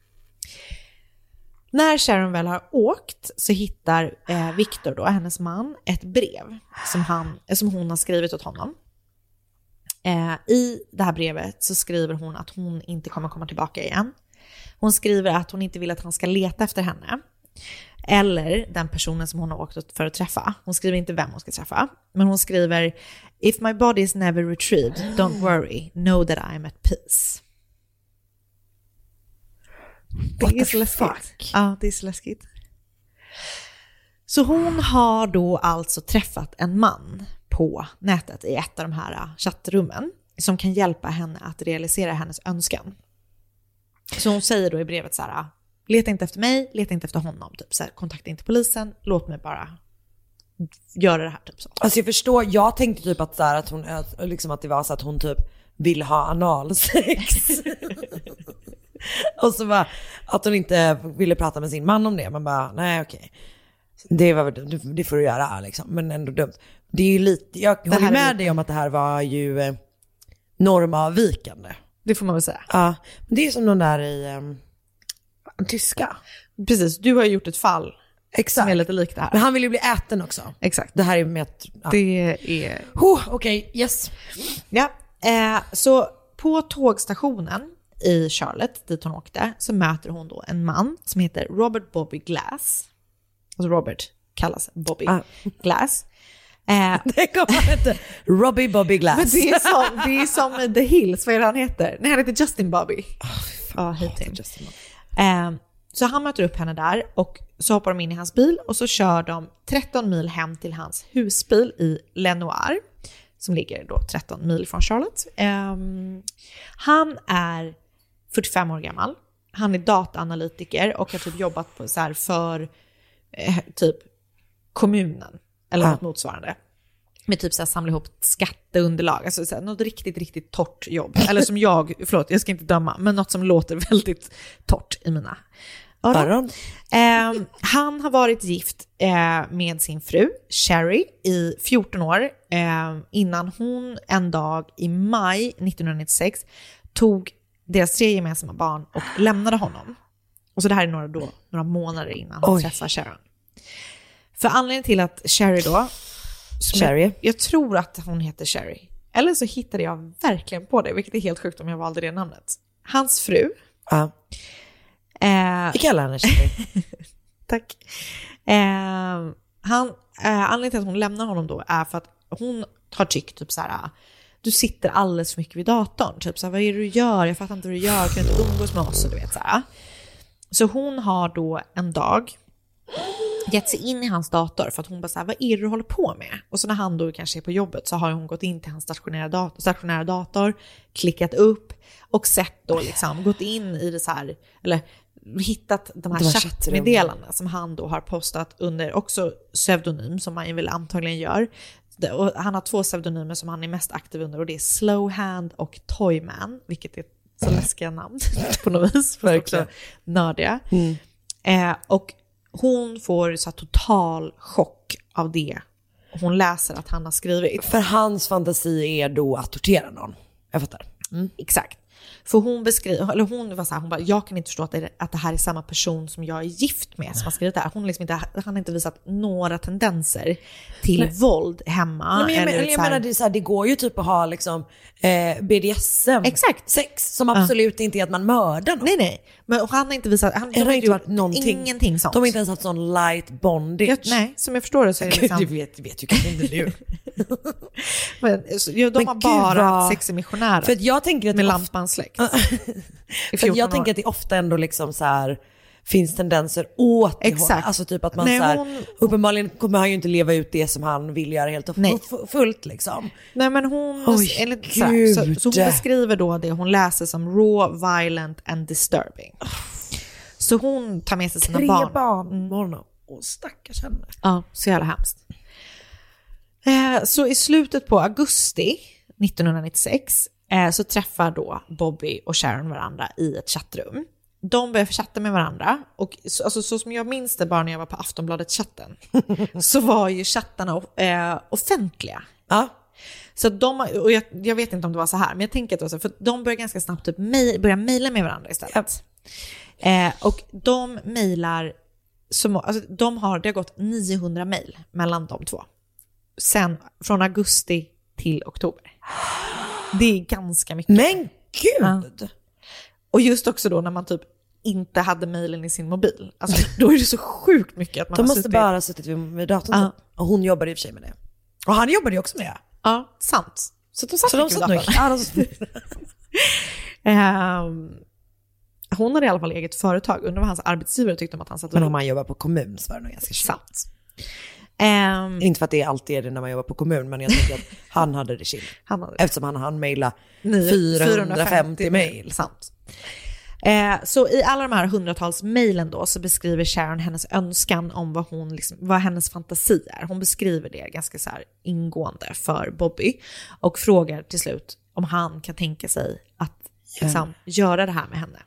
Speaker 1: När Sharon väl har åkt så hittar eh, Victor, då, hennes man, ett brev som, han, eh, som hon har skrivit åt honom. Eh, I det här brevet så skriver hon att hon inte kommer komma tillbaka igen. Hon skriver att hon inte vill att han ska leta efter henne. Eller den personen som hon har åkt åt för att träffa. Hon skriver inte vem hon ska träffa. Men hon skriver “If my body is never retrieved, don't worry, know that I'm at peace”.
Speaker 2: What
Speaker 1: det är
Speaker 2: the
Speaker 1: så läskigt.
Speaker 2: fuck?
Speaker 1: Ja, det är så läskigt. Så hon har då alltså träffat en man på nätet i ett av de här eh, chattrummen som kan hjälpa henne att realisera hennes önskan. Så hon säger då i brevet så här, äh, leta inte efter mig, leta inte efter honom, typ så här, kontakta inte polisen, låt mig bara göra det här typ så.
Speaker 2: Alltså jag förstår, jag tänkte typ att, så här, att, hon, ö- liksom att det var så att hon typ vill ha analsex. och så bara, att hon inte ville prata med sin man om det. Man bara, nej okej. Det, var, väl- du- det får du göra liksom, men ändå dumt. Det är ju lite, jag håller
Speaker 1: här är
Speaker 2: med
Speaker 1: lite-
Speaker 2: dig om att det här var ju eh, normavvikande.
Speaker 1: Det får man väl säga.
Speaker 2: Ja, men det är som de där i eh, tyska.
Speaker 1: Precis, du har ju gjort ett fall
Speaker 2: Exakt.
Speaker 1: som är lite likt det här.
Speaker 2: Men han vill ju bli äten också.
Speaker 1: Exakt.
Speaker 2: Det här är med att, ja.
Speaker 1: Det är
Speaker 2: oh, okej, yes.
Speaker 1: Ja, eh, så på tågstationen i Charlotte, dit hon åkte, så möter hon då en man som heter Robert Bobby Glass. Alltså Robert kallas Bobby
Speaker 2: Ah.
Speaker 1: Glass. Eh,
Speaker 2: Det kommer han inte. Robbie Bobby Glass.
Speaker 1: men det är, som, det är som i The Hills, vad är det han heter? Nej, han heter Justin Bobby.
Speaker 2: Ah,
Speaker 1: Ja, oh, hate him.
Speaker 2: Justin Bobby.
Speaker 1: Eh, så han möter upp henne där och så hoppar de in i hans bil och så kör de 13 mil hem till hans husbil i Lenoir som ligger då 13 mil från Charlotte. Eh, han är 45 år gammal. Han är dataanalytiker och har typ jobbat på, så här, för eh, typ kommunen eller
Speaker 2: Ja.
Speaker 1: något motsvarande. Med typ så här, samla ihop skatteunderlag, alltså så här, något riktigt, riktigt torrt jobb. Eller som jag, förlåt jag ska inte döma, men något som låter väldigt torrt i mina öron.
Speaker 2: Öron.
Speaker 1: Ehm, han har varit gift eh, med sin fru Sherry i 14 år eh, innan hon en dag i maj 1996 tog deras tre gemensamma barn och lämnade honom. Och så det här är några, då, några månader innan hon
Speaker 2: Oj.
Speaker 1: träffar Sharon. För anledningen till att Sherry då, som
Speaker 2: Sherry.
Speaker 1: Jag, jag tror att hon heter Sherry, eller så hittade jag verkligen på det, vilket är helt sjukt om jag valde det namnet. Hans fru,
Speaker 2: Ja.
Speaker 1: eh,
Speaker 2: Vi kallar henne Sherry.
Speaker 1: Tack. Eh, han, eh, anledningen till att hon lämnar honom då är för att hon har tyckt typ så här, du sitter alldeles för mycket vid datorn. Typ så här, vad är det du gör? Jag fattar inte vad du gör. Kan du inte umgås med oss? Och Du vet, så, här. så hon har då en dag gett sig in i hans dator för att hon bara så här, vad är det du håller på med? Och så när han då kanske är på jobbet så har hon gått in till hans stationära dator, stationära dator klickat upp och sett då liksom, gått in i det så här, eller hittat de här
Speaker 2: De här
Speaker 1: chattmeddelandena som han då har postat under också pseudonym som man väl antagligen gör. Det- Och han har två pseudonymer som han är mest aktiv under och det är Slowhand och Toyman, vilket är så läskiga namn på något vis, för också
Speaker 2: Verkligen.
Speaker 1: nördiga. Eh, och hon får så här total chock av det hon läser att han har skrivit.
Speaker 2: För hans fantasi är då att tortera någon. Jag fattar.
Speaker 1: Exakt. För hon beskrev, eller hon var så här, hon bara, jag kan inte förstå att det, att det här är samma person som jag är gift med som har skrivit det här. Hon liksom inte, han har inte visat några tendenser till
Speaker 2: Nej.
Speaker 1: våld hemma.
Speaker 2: Nej, men jag, men,
Speaker 1: eller
Speaker 2: eller jag
Speaker 1: så här-
Speaker 2: menar, det, är så här, det går ju typ att ha liksom, eh, BDSM, Exakt. sex, som absolut inte är att man mördar någon.
Speaker 1: Nej, nej. Men han har inte visat, han, de har inte gjort ingenting sånt.
Speaker 2: De har inte ens haft sån light bondage.
Speaker 1: Jag, nej, som jag förstår det så är det
Speaker 2: Gud,
Speaker 1: liksom...
Speaker 2: du vet, du vet ju kanske inte nu.
Speaker 1: Men, så, ja, de
Speaker 2: Men
Speaker 1: har
Speaker 2: gud,
Speaker 1: bara
Speaker 2: vad-
Speaker 1: haft sex i missionären.
Speaker 2: För att jag tänker att
Speaker 1: med
Speaker 2: det ofta-
Speaker 1: lampan släckt.
Speaker 2: För
Speaker 1: I 14
Speaker 2: jag
Speaker 1: år.
Speaker 2: tänker att det ofta ändå liksom så här finns tendenser åt det
Speaker 1: Exakt.
Speaker 2: hållet. Alltså typ att man
Speaker 1: Nej,
Speaker 2: så här,
Speaker 1: hon-
Speaker 2: uppenbarligen kommer han ju inte leva ut det som han vill göra helt och f- fullt liksom.
Speaker 1: Nej men hon,
Speaker 2: Oj,
Speaker 1: enligt, så, här, så, så
Speaker 2: gud.
Speaker 1: hon beskriver då det hon läser som raw, violent and disturbing. Så hon tar med sig sina
Speaker 2: Tre
Speaker 1: barn.
Speaker 2: barn med honom. Åh stackars henne.
Speaker 1: Ja, så jävla hemskt. Eh, så i slutet på augusti 1996 eh, så träffar då Bobby och Sharon varandra i ett chattrum. De börjar chatta med varandra och så, alltså, så som jag minns det bara när jag var på Aftonbladet-chatten så var ju chattarna eh, offentliga. Så att de, har- och jag, jag vet inte om det var så här, men jag tänker att det var så, för de börjar ganska snabbt typ mej, börja mejla med varandra istället. Eh, och de mejlar, så må- alltså, de har, det har gått 900 mejl mellan de två. Sen från augusti till oktober. Det är ganska mycket.
Speaker 2: Men gud!
Speaker 1: Och just också då när man typ inte hade mejlen i sin mobil. Alltså, då är det så sjukt mycket att man
Speaker 2: De
Speaker 1: har
Speaker 2: måste
Speaker 1: suttit-
Speaker 2: bara ha suttit vid, vid datorn. typ.
Speaker 1: Ja.
Speaker 2: Och hon jobbade i och för sig med det. Och han jobbade ju också med det.
Speaker 1: Ja, sant. Så de satt
Speaker 2: Så de
Speaker 1: mycket
Speaker 2: satt
Speaker 1: vid
Speaker 2: nog-
Speaker 1: datorn.
Speaker 2: ja, de satt-
Speaker 1: Ehm, hon hade i alla fall eget företag. Undrar vad hans arbetsgivare tyckte om att han satt och-
Speaker 2: Men om man jobbar på kommun så var det nog ganska
Speaker 1: Sant. Ehm,
Speaker 2: Inte för att det alltid är det när man jobbar på kommun, men jag tänker att han hade det chill.
Speaker 1: Han hade det.
Speaker 2: Eftersom han hann mejla
Speaker 1: Nio-
Speaker 2: 450 mejl.
Speaker 1: Sant. Eh, så i alla de här hundratals mejlen då så beskriver Sharon hennes önskan om vad, hon liksom, vad hennes fantasi är. Hon beskriver det ganska så här ingående för Bobby och frågar till slut om han kan tänka sig att liksom, göra det här med henne.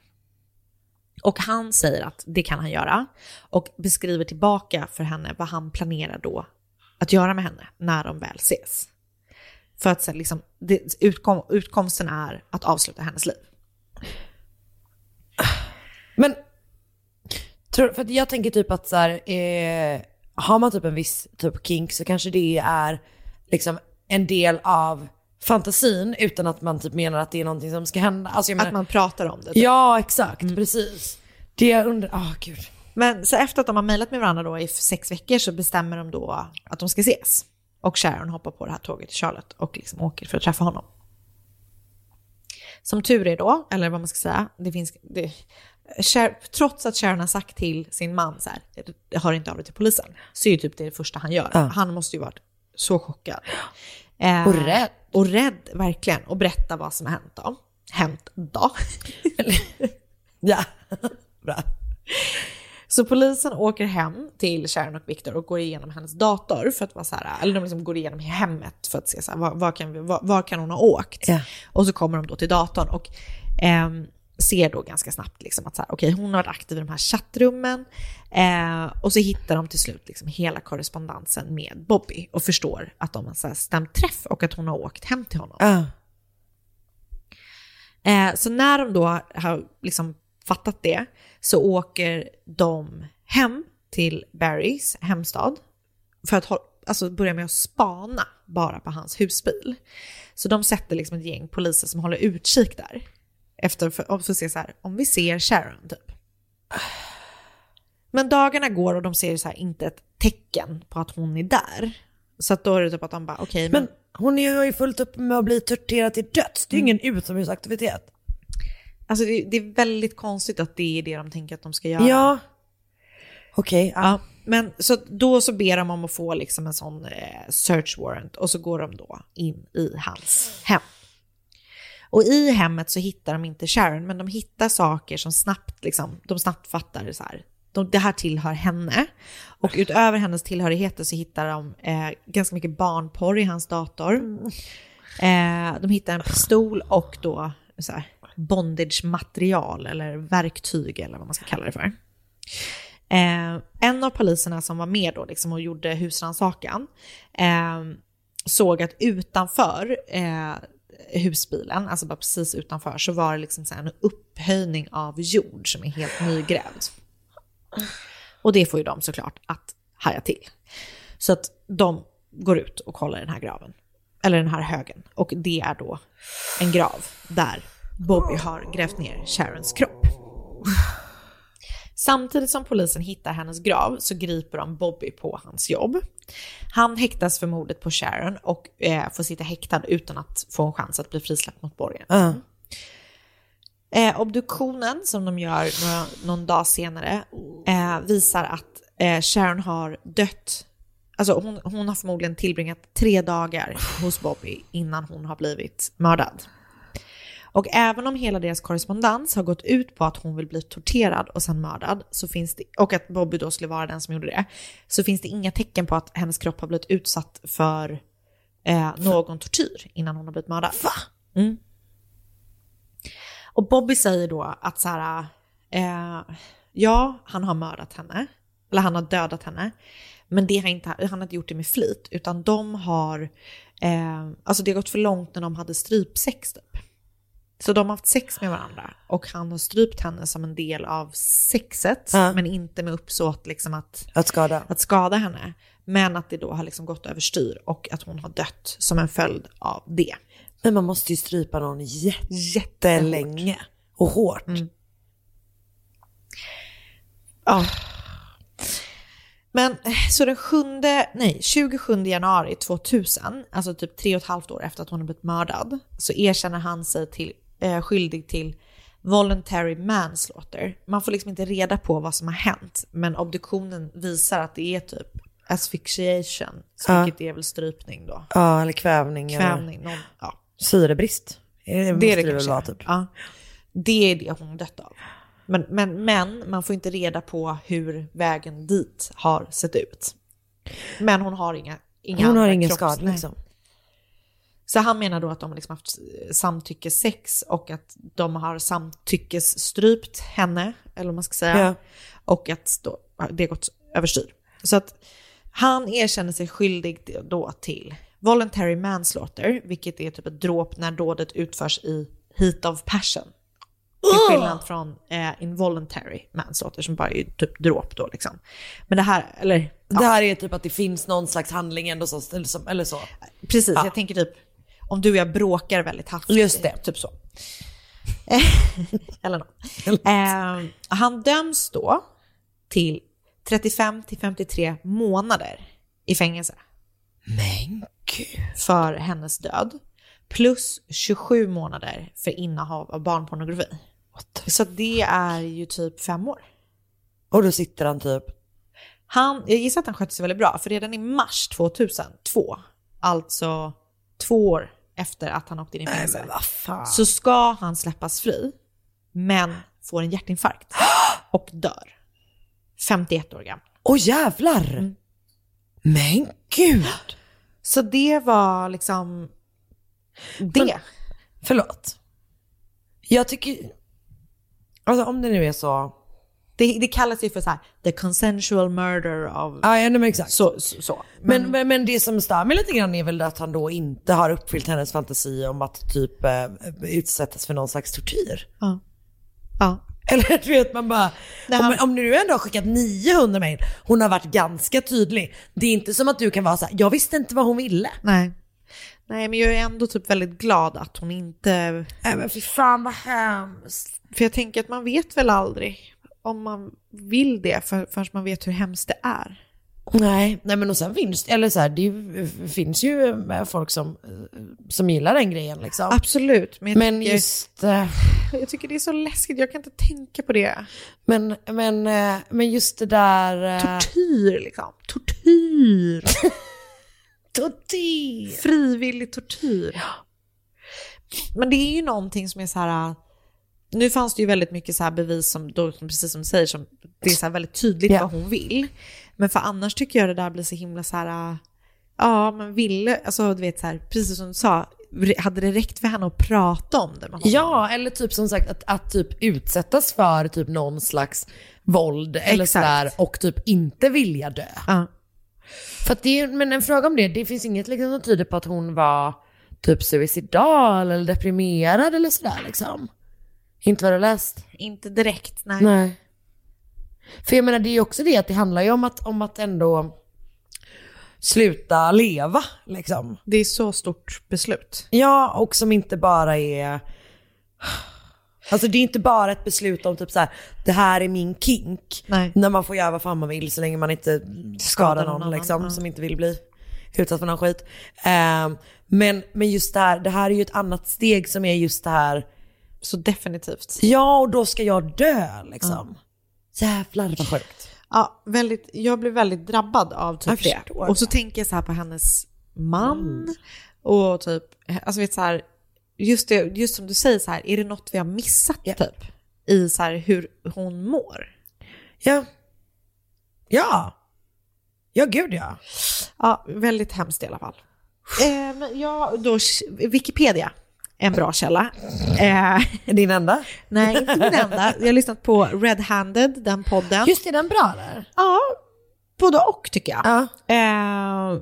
Speaker 1: Och han säger att det kan han göra och beskriver tillbaka för henne vad han planerar då att göra med henne när de väl ses. För att sen liksom, det, utkom, utkomsten är att avsluta hennes liv.
Speaker 2: Men tror, för att jag tänker typ att så här, eh, har man typ en viss typ kink så kanske det är liksom en del av fantasin utan att man typ menar att det är någonting som ska hända. Alltså jag menar,
Speaker 1: Att man pratar om det. typ.
Speaker 2: Ja, exakt. Precis. Det jag undrar, ah gud.
Speaker 1: Men så efter att de har mejlat med varandra då i sex veckor så bestämmer de då att de ska ses. Och Sharon hoppar på det här tåget till Charlotte och liksom åker för att träffa honom. Som tur är då, eller vad man ska säga, det finns, det, Cher, trots att Sharon har sagt till sin man så här, hör inte av dig till polisen, så är ju typ det första han gör.
Speaker 2: Ja.
Speaker 1: Han måste ju varit så chockad. Eh,
Speaker 2: Och rädd.
Speaker 1: Och rädd, verkligen. Och berätta vad som har hänt då. Hänt då.
Speaker 2: ja, bra.
Speaker 1: Så polisen åker hem till Sharon och Victor och går igenom hennes dator för att vara så här, eller de liksom går igenom hemmet för att se så här, var, var, kan vi, var, var kan hon ha åkt? Och så kommer de då till datorn och ehm, ser då ganska snabbt liksom att så här, okej, hon har varit aktiv i de här chattrummen. Eh, och så hittar de till slut liksom hela korrespondensen med Bobby och förstår att de har så här stämt träff och att hon har åkt hem till honom. Eh, så när de då har liksom fattat det så åker de hem till Barrys hemstad för att hå- alltså börja med att spana bara på hans husbil. Så de sätter liksom ett gäng poliser som håller utkik där. Efter för, för att se så här, om vi ser Sharon typ. Men dagarna går och de ser så här inte ett tecken på att hon är där. Så att då är det typ att de bara okej men
Speaker 2: Men hon är ju- har ju fullt upp med att bli torterad till döds. Det är ju ingen utomhusaktivitet.
Speaker 1: Alltså det, det är väldigt konstigt att det är det de tänker att de ska göra.
Speaker 2: Ja. Okej.
Speaker 1: ja. Men så att då så ber de om att få liksom en sån eh, search warrant och så går de då in i hans hem. Och i hemmet så hittar de inte Sharon, men de hittar saker som snabbt, liksom, de snabbt fattar så här. De, det här tillhör henne. Och utöver hennes tillhörigheter så hittar de eh, ganska mycket barnporr i hans dator. Eh, de hittar en pistol och då så här, bondage-material eller verktyg eller vad man ska kalla det för. Eh, en av poliserna som var med då liksom, och gjorde husrannsakan eh, såg att utanför eh, husbilen, alltså bara precis utanför, så var det liksom så här en upphöjning av jord som är helt nygrävd. Och det får ju de såklart att haja till. Så att de går ut och kollar den här graven, eller den här högen. Och det är då en grav där Bobby har grävt ner Sharons kropp. Samtidigt som polisen hittar hennes grav så griper de Bobby på hans jobb. Han häktas för mordet på Sharon och eh, får sitta häktad utan att få en chans att bli frisläppt mot borgen.
Speaker 2: Ja.
Speaker 1: Eh, obduktionen som de gör några, någon dag senare eh, visar att eh, Sharon har dött. Alltså hon, hon har förmodligen tillbringat tre dagar hos Bobby innan hon har blivit mördad. Och även om hela deras korrespondens har gått ut på att hon vill bli torterad och sen mördad, så finns det, och att Bobby då skulle vara den som gjorde det, så finns det inga tecken på att hennes kropp har blivit utsatt för eh, någon tortyr innan hon har blivit mördad. Mm. Och Bobby säger då att så här, eh, ja, han har mördat henne, eller han har dödat henne, men det har inte, han har inte gjort det med flit, utan de har, eh, alltså det har gått för långt när de hade strypsex typ. Så de har haft sex med varandra och han har strypt henne som en del av sexet,
Speaker 2: Ja.
Speaker 1: men inte med uppsåt liksom att,
Speaker 2: Att skada.
Speaker 1: att skada henne. Men att det då har liksom gått överstyr och att hon har dött som en följd av det.
Speaker 2: Men man måste ju strypa någon jättelänge och hårt.
Speaker 1: Mm. Ja. Men eh, så den 7, nej, 27 januari 2000, alltså typ tre och ett halvt år efter att hon har blivit mördad, så erkänner han sig till, eh, skyldig till voluntary manslaughter. Man får liksom inte reda på vad som har hänt, men obduktionen visar att det är typ asphyxiation,
Speaker 2: Ja.
Speaker 1: vilket är väl strypning då.
Speaker 2: Ja, eller kvävning.
Speaker 1: Kvävning,
Speaker 2: eller...
Speaker 1: någon, ja.
Speaker 2: Syrebrist. Det, måste det, väl
Speaker 1: kanske
Speaker 2: vara
Speaker 1: är.
Speaker 2: typ.
Speaker 1: Ja. Det är det hon dött av. Men, men, men man får inte reda på hur vägen dit har sett ut. Men hon har inga, inga
Speaker 2: Hon har
Speaker 1: andra
Speaker 2: ingen
Speaker 1: kropps-
Speaker 2: skada
Speaker 1: nej.
Speaker 2: liksom.
Speaker 1: Så han menar då att de har liksom haft samtyckessex och att de har samtyckesstrypt henne, eller vad man ska säga.
Speaker 2: Ja.
Speaker 1: Och att då, det har gått överstyr. Så att han erkänner sig skyldig då till voluntary manslaughter, vilket är typ ett dråp när dådet utförs i heat of passion. Till skillnad från eh, involuntary manslaughter som bara är typ dråp då liksom. Men det här, eller... ja.
Speaker 2: Det här är typ att det finns någon slags handling ändå så, eller så. Eller så.
Speaker 1: Precis,
Speaker 2: Ja.
Speaker 1: jag tänker typ om du och jag bråkar väldigt hastigt.
Speaker 2: Just det.
Speaker 1: Typ så. Eller något. Eh, han döms då till 35 till 53 månader i fängelse. Men gud. För hennes död. Plus 27 månader för innehav av barnpornografi. Så det är ju typ fem år.
Speaker 2: Och då sitter han typ
Speaker 1: Han, jag gissar att han skötte sig väldigt bra, för redan i mars 2002, alltså två år efter att han åkte in i fängelse, så ska han släppas fri, men får en hjärtinfarkt och dör. 51 år gammal. Mm.
Speaker 2: Åh jävlar! Men gud!
Speaker 1: Så det var liksom det.
Speaker 2: förlåt. Jag tycker... Alltså om det nu är så...
Speaker 1: Det, det kallas ju för så här, the consensual murder of...
Speaker 2: Ja, ja nej, men exakt.
Speaker 1: Så, så, så.
Speaker 2: Men, men, men, det som stör mig lite grann är väl att han då inte har uppfyllt hennes fantasi om att typ eh, utsättas för någon slags tortyr.
Speaker 1: Ja. ja.
Speaker 2: Eller du vet man bara,
Speaker 1: Nej,
Speaker 2: om,
Speaker 1: han-
Speaker 2: om du ändå har skickat 900 mejl, hon har varit ganska tydlig. Det är inte som att du kan vara så här, jag visste inte vad hon ville.
Speaker 1: Nej. Nej, men jag är ändå typ väldigt glad att hon inte...
Speaker 2: Nej men fy fan vad hemskt.
Speaker 1: För jag tänker att man vet väl aldrig om man vill det för, förrän man vet hur hemskt det är.
Speaker 2: Nej, nej men och sen finns, eller så här, det är- finns ju eh, folk som, eh, som gillar den grejen liksom.
Speaker 1: Absolut, men, jag,
Speaker 2: Men
Speaker 1: tycker,
Speaker 2: just, eh,
Speaker 1: jag tycker det är så läskigt. Jag kan inte tänka på det.
Speaker 2: men, men, eh, men just det där... eh,
Speaker 1: Tortyr liksom. Tortyr.
Speaker 2: Tortyr!
Speaker 1: Frivillig tortyr. Men det är ju någonting som är så här... äh, Nu fanns det ju väldigt mycket så här bevis som, då, som precis som du säger, som det är så här väldigt tydligt
Speaker 2: Ja.
Speaker 1: vad hon vill. Men för annars tycker jag det där blir så himla så här... äh, Ja, men ville, alltså du vet så här, precis som du sa, re- hade det räckt för henne att prata om det med honom?
Speaker 2: Ja, eller typ som sagt att, att typ utsättas för typ någon slags våld eller
Speaker 1: Exakt.
Speaker 2: sådär och typ inte vilja dö.
Speaker 1: Ja.
Speaker 2: För att det är, men en fråga om det, det finns inget liksom som tyder på att hon var typ suicidal eller deprimerad eller sådär liksom? Inte vad du har läst?
Speaker 1: Inte direkt, nej.
Speaker 2: Nej. För jag menar det är ju också det att det handlar ju om att, om att ändå sluta leva liksom.
Speaker 1: Det är så stort beslut.
Speaker 2: Ja, och som inte bara är... Alltså det är inte bara ett beslut om typ så här, det här är min kink. När man får göra vad fan man vill så länge man inte skadar någon,
Speaker 1: någon annan,
Speaker 2: liksom,
Speaker 1: ja.
Speaker 2: som inte vill bli utsatt för någon skit. Ehm, men, men just det här, det här är ju ett annat steg som är just det här.
Speaker 1: Så definitivt.
Speaker 2: Ja, och då ska jag dö liksom. Jävlar vad sjukt.
Speaker 1: Ja, väldigt, jag blev väldigt drabbad av
Speaker 2: Jag
Speaker 1: typ det.
Speaker 2: förstår Mm.
Speaker 1: Och så tänker jag så här på hennes man och typ, alltså vet så här, just, det, just som du säger så här, är det något vi har missat typ? I så här hur hon mår.
Speaker 2: Ja. Ja. Ja, gud ja.
Speaker 1: Ja, väldigt hemskt i alla fall. Ehm, ja, då, Wikipedia, en bra källa. Eh.
Speaker 2: Din enda?
Speaker 1: Nej, inte min enda. Jag har lyssnat på Red Handed, den podden.
Speaker 2: Just det, den bra där?
Speaker 1: Ja, både och tycker jag. Eh,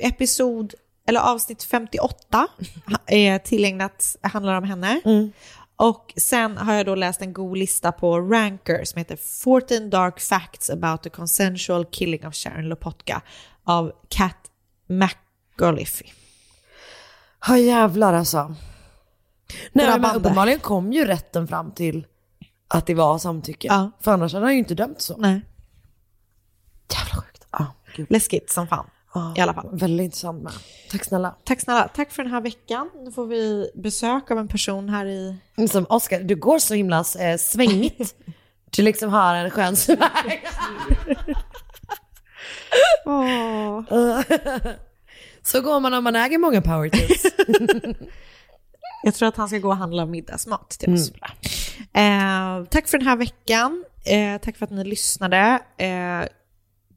Speaker 1: episod, eller avsnitt 58 är tillägnat, handlar om henne. Och sen har jag då läst en god lista på Ranker som heter 14 Dark Facts about the Consensual Killing of Sharon Lopotka av Kat McAuliffe.
Speaker 2: Ja jävlar alltså. Nej, men
Speaker 1: Drabbande.
Speaker 2: uppenbarligen kom ju rätten fram till att det var samtycke. För annars hade han ju inte dömt så.
Speaker 1: Nej.
Speaker 2: Jävla
Speaker 1: sjukt. Läskigt som fan. I alla fall.
Speaker 2: Väldigt intressant med. Tack snälla.
Speaker 1: Tack snälla. Tack för den här veckan. Nu får vi besök av en person här i...
Speaker 2: Som Oskar, du går så himla eh, svängigt. du liksom har en skön sväng. så går man om man äger många power tips.
Speaker 1: Jag tror att han ska gå och handla middagsmat till oss.
Speaker 2: Mm.
Speaker 1: Eh, tack för den här veckan. Eh, tack för att ni lyssnade. Eh,